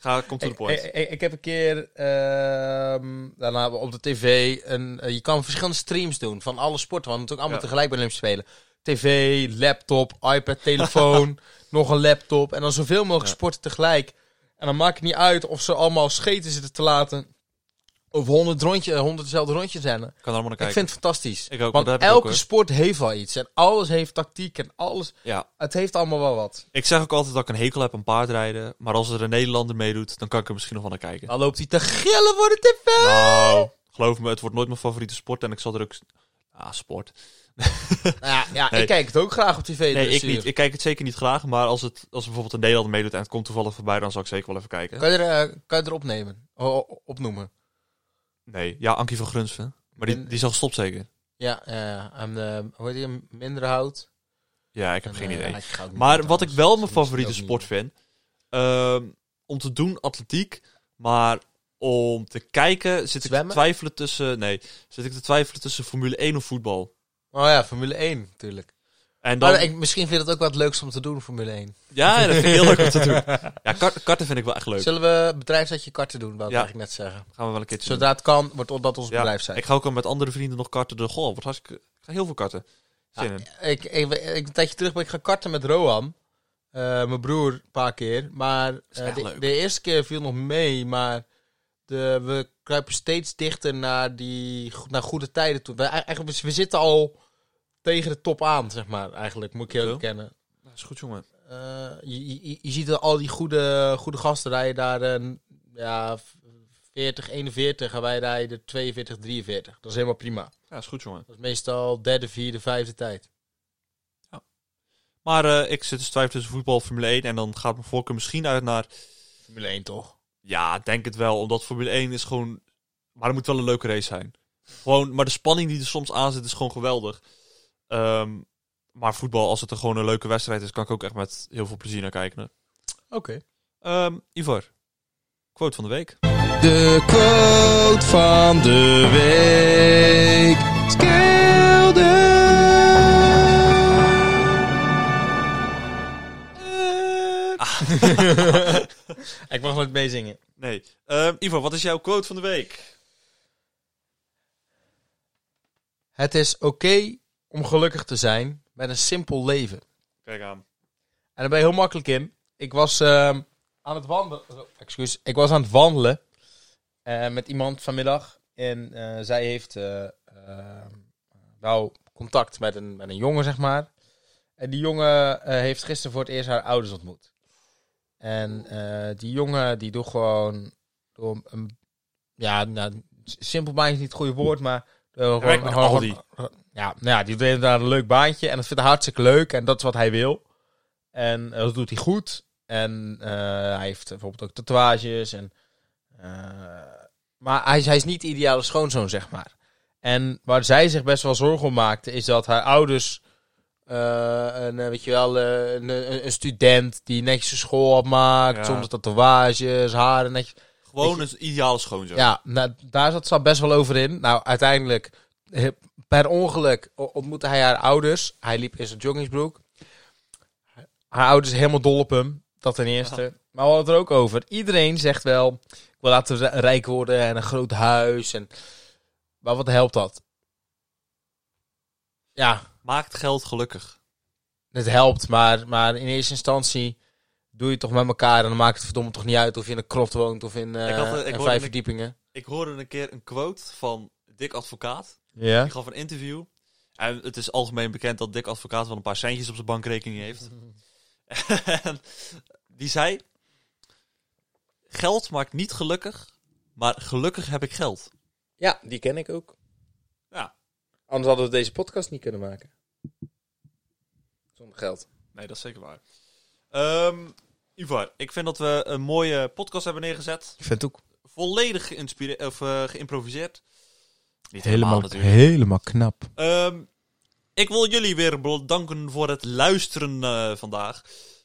Speaker 2: Ga, kom to the point.
Speaker 1: Ik, ik- ik- ik heb een keer ehm, daarna op de tv. Een, eh, je kan verschillende streams doen van alle sporten. Want natuurlijk allemaal
Speaker 2: Ja.
Speaker 1: tegelijk bij de Olympische Spelen. TV, laptop, iPad, telefoon, nog een laptop. En dan zoveel mogelijk
Speaker 2: Ja.
Speaker 1: sporten tegelijk. En dan maakt het niet uit of ze allemaal scheten zitten te laten. Of honderd rondje, honderd dezelfde rondjes rennen.
Speaker 2: Ik kan er allemaal naar
Speaker 1: Ik
Speaker 2: kijken.
Speaker 1: vind het fantastisch.
Speaker 2: Ik ook,
Speaker 1: want
Speaker 2: dat heb ik ook,
Speaker 1: elke
Speaker 2: hoor.
Speaker 1: sport heeft wel iets. En alles heeft tactiek en alles.
Speaker 2: Ja.
Speaker 1: Het heeft allemaal wel wat.
Speaker 2: Ik zeg ook altijd dat ik een hekel heb aan paardrijden. Maar als er een Nederlander meedoet, dan kan ik er misschien nog wel naar kijken.
Speaker 1: Dan loopt hij te gillen voor de tv. Oh.
Speaker 2: Nou, geloof me, het wordt nooit mijn favoriete sport. En ik zal er ook... Ah, sport.
Speaker 1: Nou ja, ja
Speaker 2: Nee.
Speaker 1: ik kijk het ook graag op tv.
Speaker 2: Nee,
Speaker 1: dus,
Speaker 2: ik
Speaker 1: eh,
Speaker 2: niet. Ik kijk het zeker niet graag. Maar als, het, als er bijvoorbeeld een Nederlander meedoet en het komt toevallig voorbij, dan zal ik zeker wel even kijken.
Speaker 1: Kan je, er, eh, kan je er opnemen? O- o- opnoemen?
Speaker 2: Nee, ja, Ankie van Grunsven. Maar die,
Speaker 1: En-
Speaker 2: die zal gestopt zeker.
Speaker 1: Ja, ja. aan de, hoe heet die? Mindere hout.
Speaker 2: Ja, ik heb
Speaker 1: En,
Speaker 2: geen
Speaker 1: eh,
Speaker 2: idee.
Speaker 1: ja, ik ga ook niet
Speaker 2: Maar
Speaker 1: doen,
Speaker 2: wat ik
Speaker 1: trouwens.
Speaker 2: wel mijn
Speaker 1: Dat moet je
Speaker 2: favoriete
Speaker 1: ook niet
Speaker 2: sport
Speaker 1: doen.
Speaker 2: vind, ehm, om te doen atletiek, maar om te kijken zit ik te
Speaker 1: Zwemmen?
Speaker 2: twijfelen tussen, nee, zit ik te twijfelen tussen Formule 1 of voetbal.
Speaker 1: Oh ja, Formule 1 natuurlijk.
Speaker 2: En dan,
Speaker 1: Maar ik, misschien vind je dat ook wel het leukste om te doen, Formule 1.
Speaker 2: ja, dat vind ik heel leuk om te doen. Ja, kart- karten vind ik wel echt leuk.
Speaker 1: Zullen we bedrijfsetje karten doen, wou ik
Speaker 2: Ja.
Speaker 1: eigenlijk net zeggen.
Speaker 2: Gaan we wel een keertje doen.
Speaker 1: Zodra het kan, wordt dat ons
Speaker 2: Ja,
Speaker 1: bedrijf zijn.
Speaker 2: Ik ga ook al met andere vrienden nog karten. De goh, wordt hartstikke, ik ga heel veel karten. Zin in.
Speaker 1: Ik, ik, ik- een tijdje terug ben ik gaan karten met Rohan. Eh, mijn broer een paar keer. Maar
Speaker 2: is
Speaker 1: eh,
Speaker 2: echt
Speaker 1: de,
Speaker 2: leuk.
Speaker 1: de eerste keer viel nog mee. Maar de, we kruipen steeds dichter naar, die, go- naar goede tijden toe. We, e-, eigenlijk, we- we zitten al tegen de top aan, zeg maar. Eigenlijk, moet ik je
Speaker 2: Zo.
Speaker 1: bekennen.
Speaker 2: Dat is goed, jongen.
Speaker 1: Eh, je, je, je ziet dat al die goede, goede gasten rijden daar een, ja, 40, 41. En wij rijden 42, 43. Dat is helemaal prima.
Speaker 2: Ja, is goed, jongen.
Speaker 1: Dat is meestal derde, vierde, vijfde tijd.
Speaker 2: Maar eh, ik zit dus te twijfelen tussen voetbal en Formule 1. En dan gaat mijn voorkeur misschien uit naar...
Speaker 1: Formule 1 toch?
Speaker 2: Ja, denk het wel. Omdat Formule 1 is gewoon... Maar het moet wel een leuke race zijn. Gewoon, maar de spanning die er soms aan zit is gewoon geweldig. Ehm, maar voetbal, als het er gewoon een leuke wedstrijd is... kan ik ook echt met heel veel plezier naar kijken. hè.
Speaker 1: Oké.
Speaker 2: Ehm, Ivar, quote van de week.
Speaker 1: De quote van de week. Ah. ik mag nooit meezingen.
Speaker 2: Nee. Ehm Ivar, wat is jouw quote van de week?
Speaker 1: Het is oké om gelukkig te zijn met een simpel leven.
Speaker 2: Kijk aan.
Speaker 1: En daar ben je heel makkelijk in. Ik was ehm, aan het wandelen. oh, Excuus. Ik was aan het wandelen eh, met iemand vanmiddag. En eh, zij heeft eh, ehm, nou contact met een, met een jongen, zeg maar. En die jongen eh, heeft gisteren voor het eerst haar ouders ontmoet. En eh, die jongen die doet gewoon door een. Ja, nou, s- simpel baantje is niet het goede woord, maar. eh, gewoon,
Speaker 2: werkt bij Aldi.
Speaker 1: ja, nou ja, die deed daar een leuk baantje en dat vindt hij hartstikke leuk en dat is wat hij wil. En eh, dat doet hij goed. En eh, hij heeft bijvoorbeeld ook tatoeages. En, eh, maar hij, is- hij is niet de ideale schoonzoon, zeg maar. En waar zij zich best wel zorgen om maakte, is dat haar ouders. eh, een, eh, weet je wel, eh, een, een- een student die netjes zijn school had maakt,
Speaker 2: Ja.
Speaker 1: zonder tatoeages, haren netjes.
Speaker 2: Gewoon een ideale schoonzoon.
Speaker 1: Ja, nou, daar zat ze best wel over in. Nou, uiteindelijk, eh, per ongeluk o- ontmoette hij haar ouders. Hij liep in zijn joggingsbroek.
Speaker 3: Haar ouders helemaal dol op hem. Dat ten eerste. Maar we hadden het er ook over. Iedereen zegt wel, ik wil laten ri- rijk worden en een groot huis. En... Maar wat helpt dat? Ja,
Speaker 2: Maakt geld gelukkig.
Speaker 3: het helpt, maar, maar in eerste instantie doe je het toch met elkaar. En dan maakt het verdomme toch niet uit of je in een kroft woont of in, eh,
Speaker 2: Ik had, eh, ik
Speaker 3: in
Speaker 2: hoorde
Speaker 3: vijf
Speaker 2: een-
Speaker 3: verdiepingen.
Speaker 2: Ik hoorde een keer een quote van Dick Advocaat.
Speaker 3: Ja.
Speaker 2: Ik gaf een interview. En het is algemeen bekend dat Dick Advocaat wel een paar centjes op zijn bankrekening heeft. en die zei: Geld maakt niet gelukkig, maar gelukkig heb ik geld.
Speaker 3: ja, die ken ik ook.
Speaker 2: Ja.
Speaker 3: Anders hadden we deze podcast niet kunnen maken. Zonder geld.
Speaker 2: Nee, dat is zeker waar. Ehm, Ivar, ik vind dat we een mooie podcast hebben neergezet.
Speaker 1: Ik vind het ook
Speaker 2: Volledig geïnspire- of, eh, geïmproviseerd. Niet
Speaker 1: helemaal, helemaal knap.
Speaker 2: Ehm, ik wil jullie weer bedanken voor het luisteren eh, vandaag.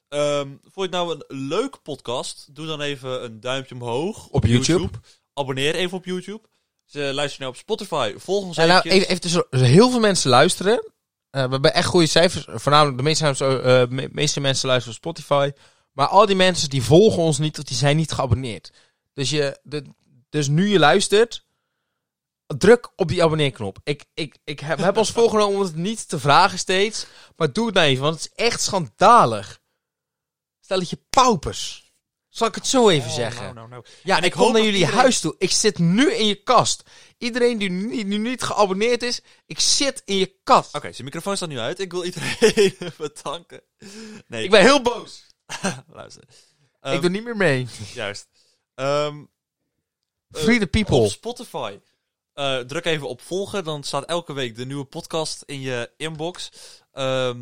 Speaker 2: Ehm, vond je het nou een leuk podcast? Doe dan even een duimpje omhoog
Speaker 1: Op YouTube.
Speaker 2: Abonneer even op YouTube. Ze luisteren nou op Spotify. Volg ons
Speaker 1: Ja, nou,
Speaker 2: eventjes.
Speaker 1: even, even tussen- heel veel mensen luisteren. Eh, we hebben echt goede cijfers. Voornamelijk de meeste, mensen- eh, me- meeste mensen luisteren op Spotify. Maar al die mensen die volgen ons niet, of die zijn niet geabonneerd. Dus, je, de- dus nu je luistert, druk op die abonneerknop. Ik, ik, ik heb, we hebben ons voorgenomen om het niet te vragen steeds. Maar doe het nou even, want het is echt schandalig. Stel dat je paupers. Zal ik het zo even
Speaker 2: Oh,
Speaker 1: zeggen?
Speaker 2: nou, nou, nou.
Speaker 1: Ja, en
Speaker 2: En
Speaker 1: ik
Speaker 2: ik
Speaker 1: kom
Speaker 2: hoop
Speaker 1: naar
Speaker 2: dat
Speaker 1: jullie
Speaker 2: iedereen-
Speaker 1: huis toe. Ik zit nu in je kast. Iedereen die nu, die niet geabonneerd is, ik zit in je kast.
Speaker 2: Oké, zijn microfoon staat nu uit. Ik wil iedereen bedanken. Nee,
Speaker 1: Ik ben heel boos.
Speaker 2: luister. Ehm,
Speaker 1: ik doe niet meer mee.
Speaker 2: Juist. Ehm, eh,
Speaker 1: Free the
Speaker 2: op
Speaker 1: people.
Speaker 2: Spotify. Eh, druk even op volgen, dan staat elke week de nieuwe podcast in je inbox. Ehm,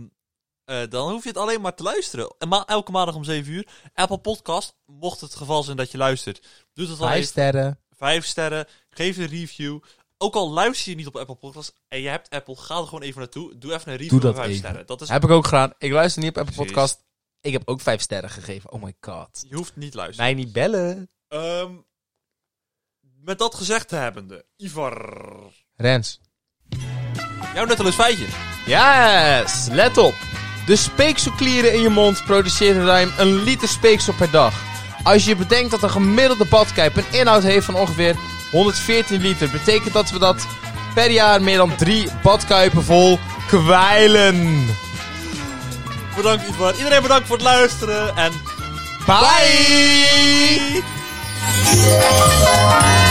Speaker 2: eh, dan hoef je het alleen maar te luisteren. En ma elke maandag om 7 uur. Apple Podcast, mocht het geval zijn dat je luistert, doe dat al
Speaker 1: Vijf
Speaker 2: even.
Speaker 1: sterren.
Speaker 2: Vijf sterren, geef een review. Ook al luister je niet op Apple Podcast en je hebt Apple, ga er gewoon even naartoe. Doe even een review
Speaker 1: Doe
Speaker 2: van
Speaker 1: dat
Speaker 2: vijf
Speaker 1: even.
Speaker 2: sterren. Dat is,
Speaker 1: Heb ik ook gedaan. Ik luister niet op Apple
Speaker 2: Precies.
Speaker 1: Podcast. Ik heb ook vijf sterren gegeven. Oh my god.
Speaker 2: je hoeft niet luisteren.
Speaker 1: Mij niet bellen.
Speaker 2: Ehm, met dat gezegd te hebbende, Ivar,
Speaker 1: Rens.
Speaker 2: jouw nutteloos feitje.
Speaker 1: Yes, let op. De speekselklieren in je mond produceren ruim een liter speeksel per dag. Als je bedenkt dat een gemiddelde badkuip een inhoud heeft van ongeveer 114 liter, betekent dat we dat per jaar meer dan drie badkuipen vol kwijlen.
Speaker 2: Bedankt Ivar. Iedereen bedankt voor het luisteren en
Speaker 1: Bye!
Speaker 4: Thank you.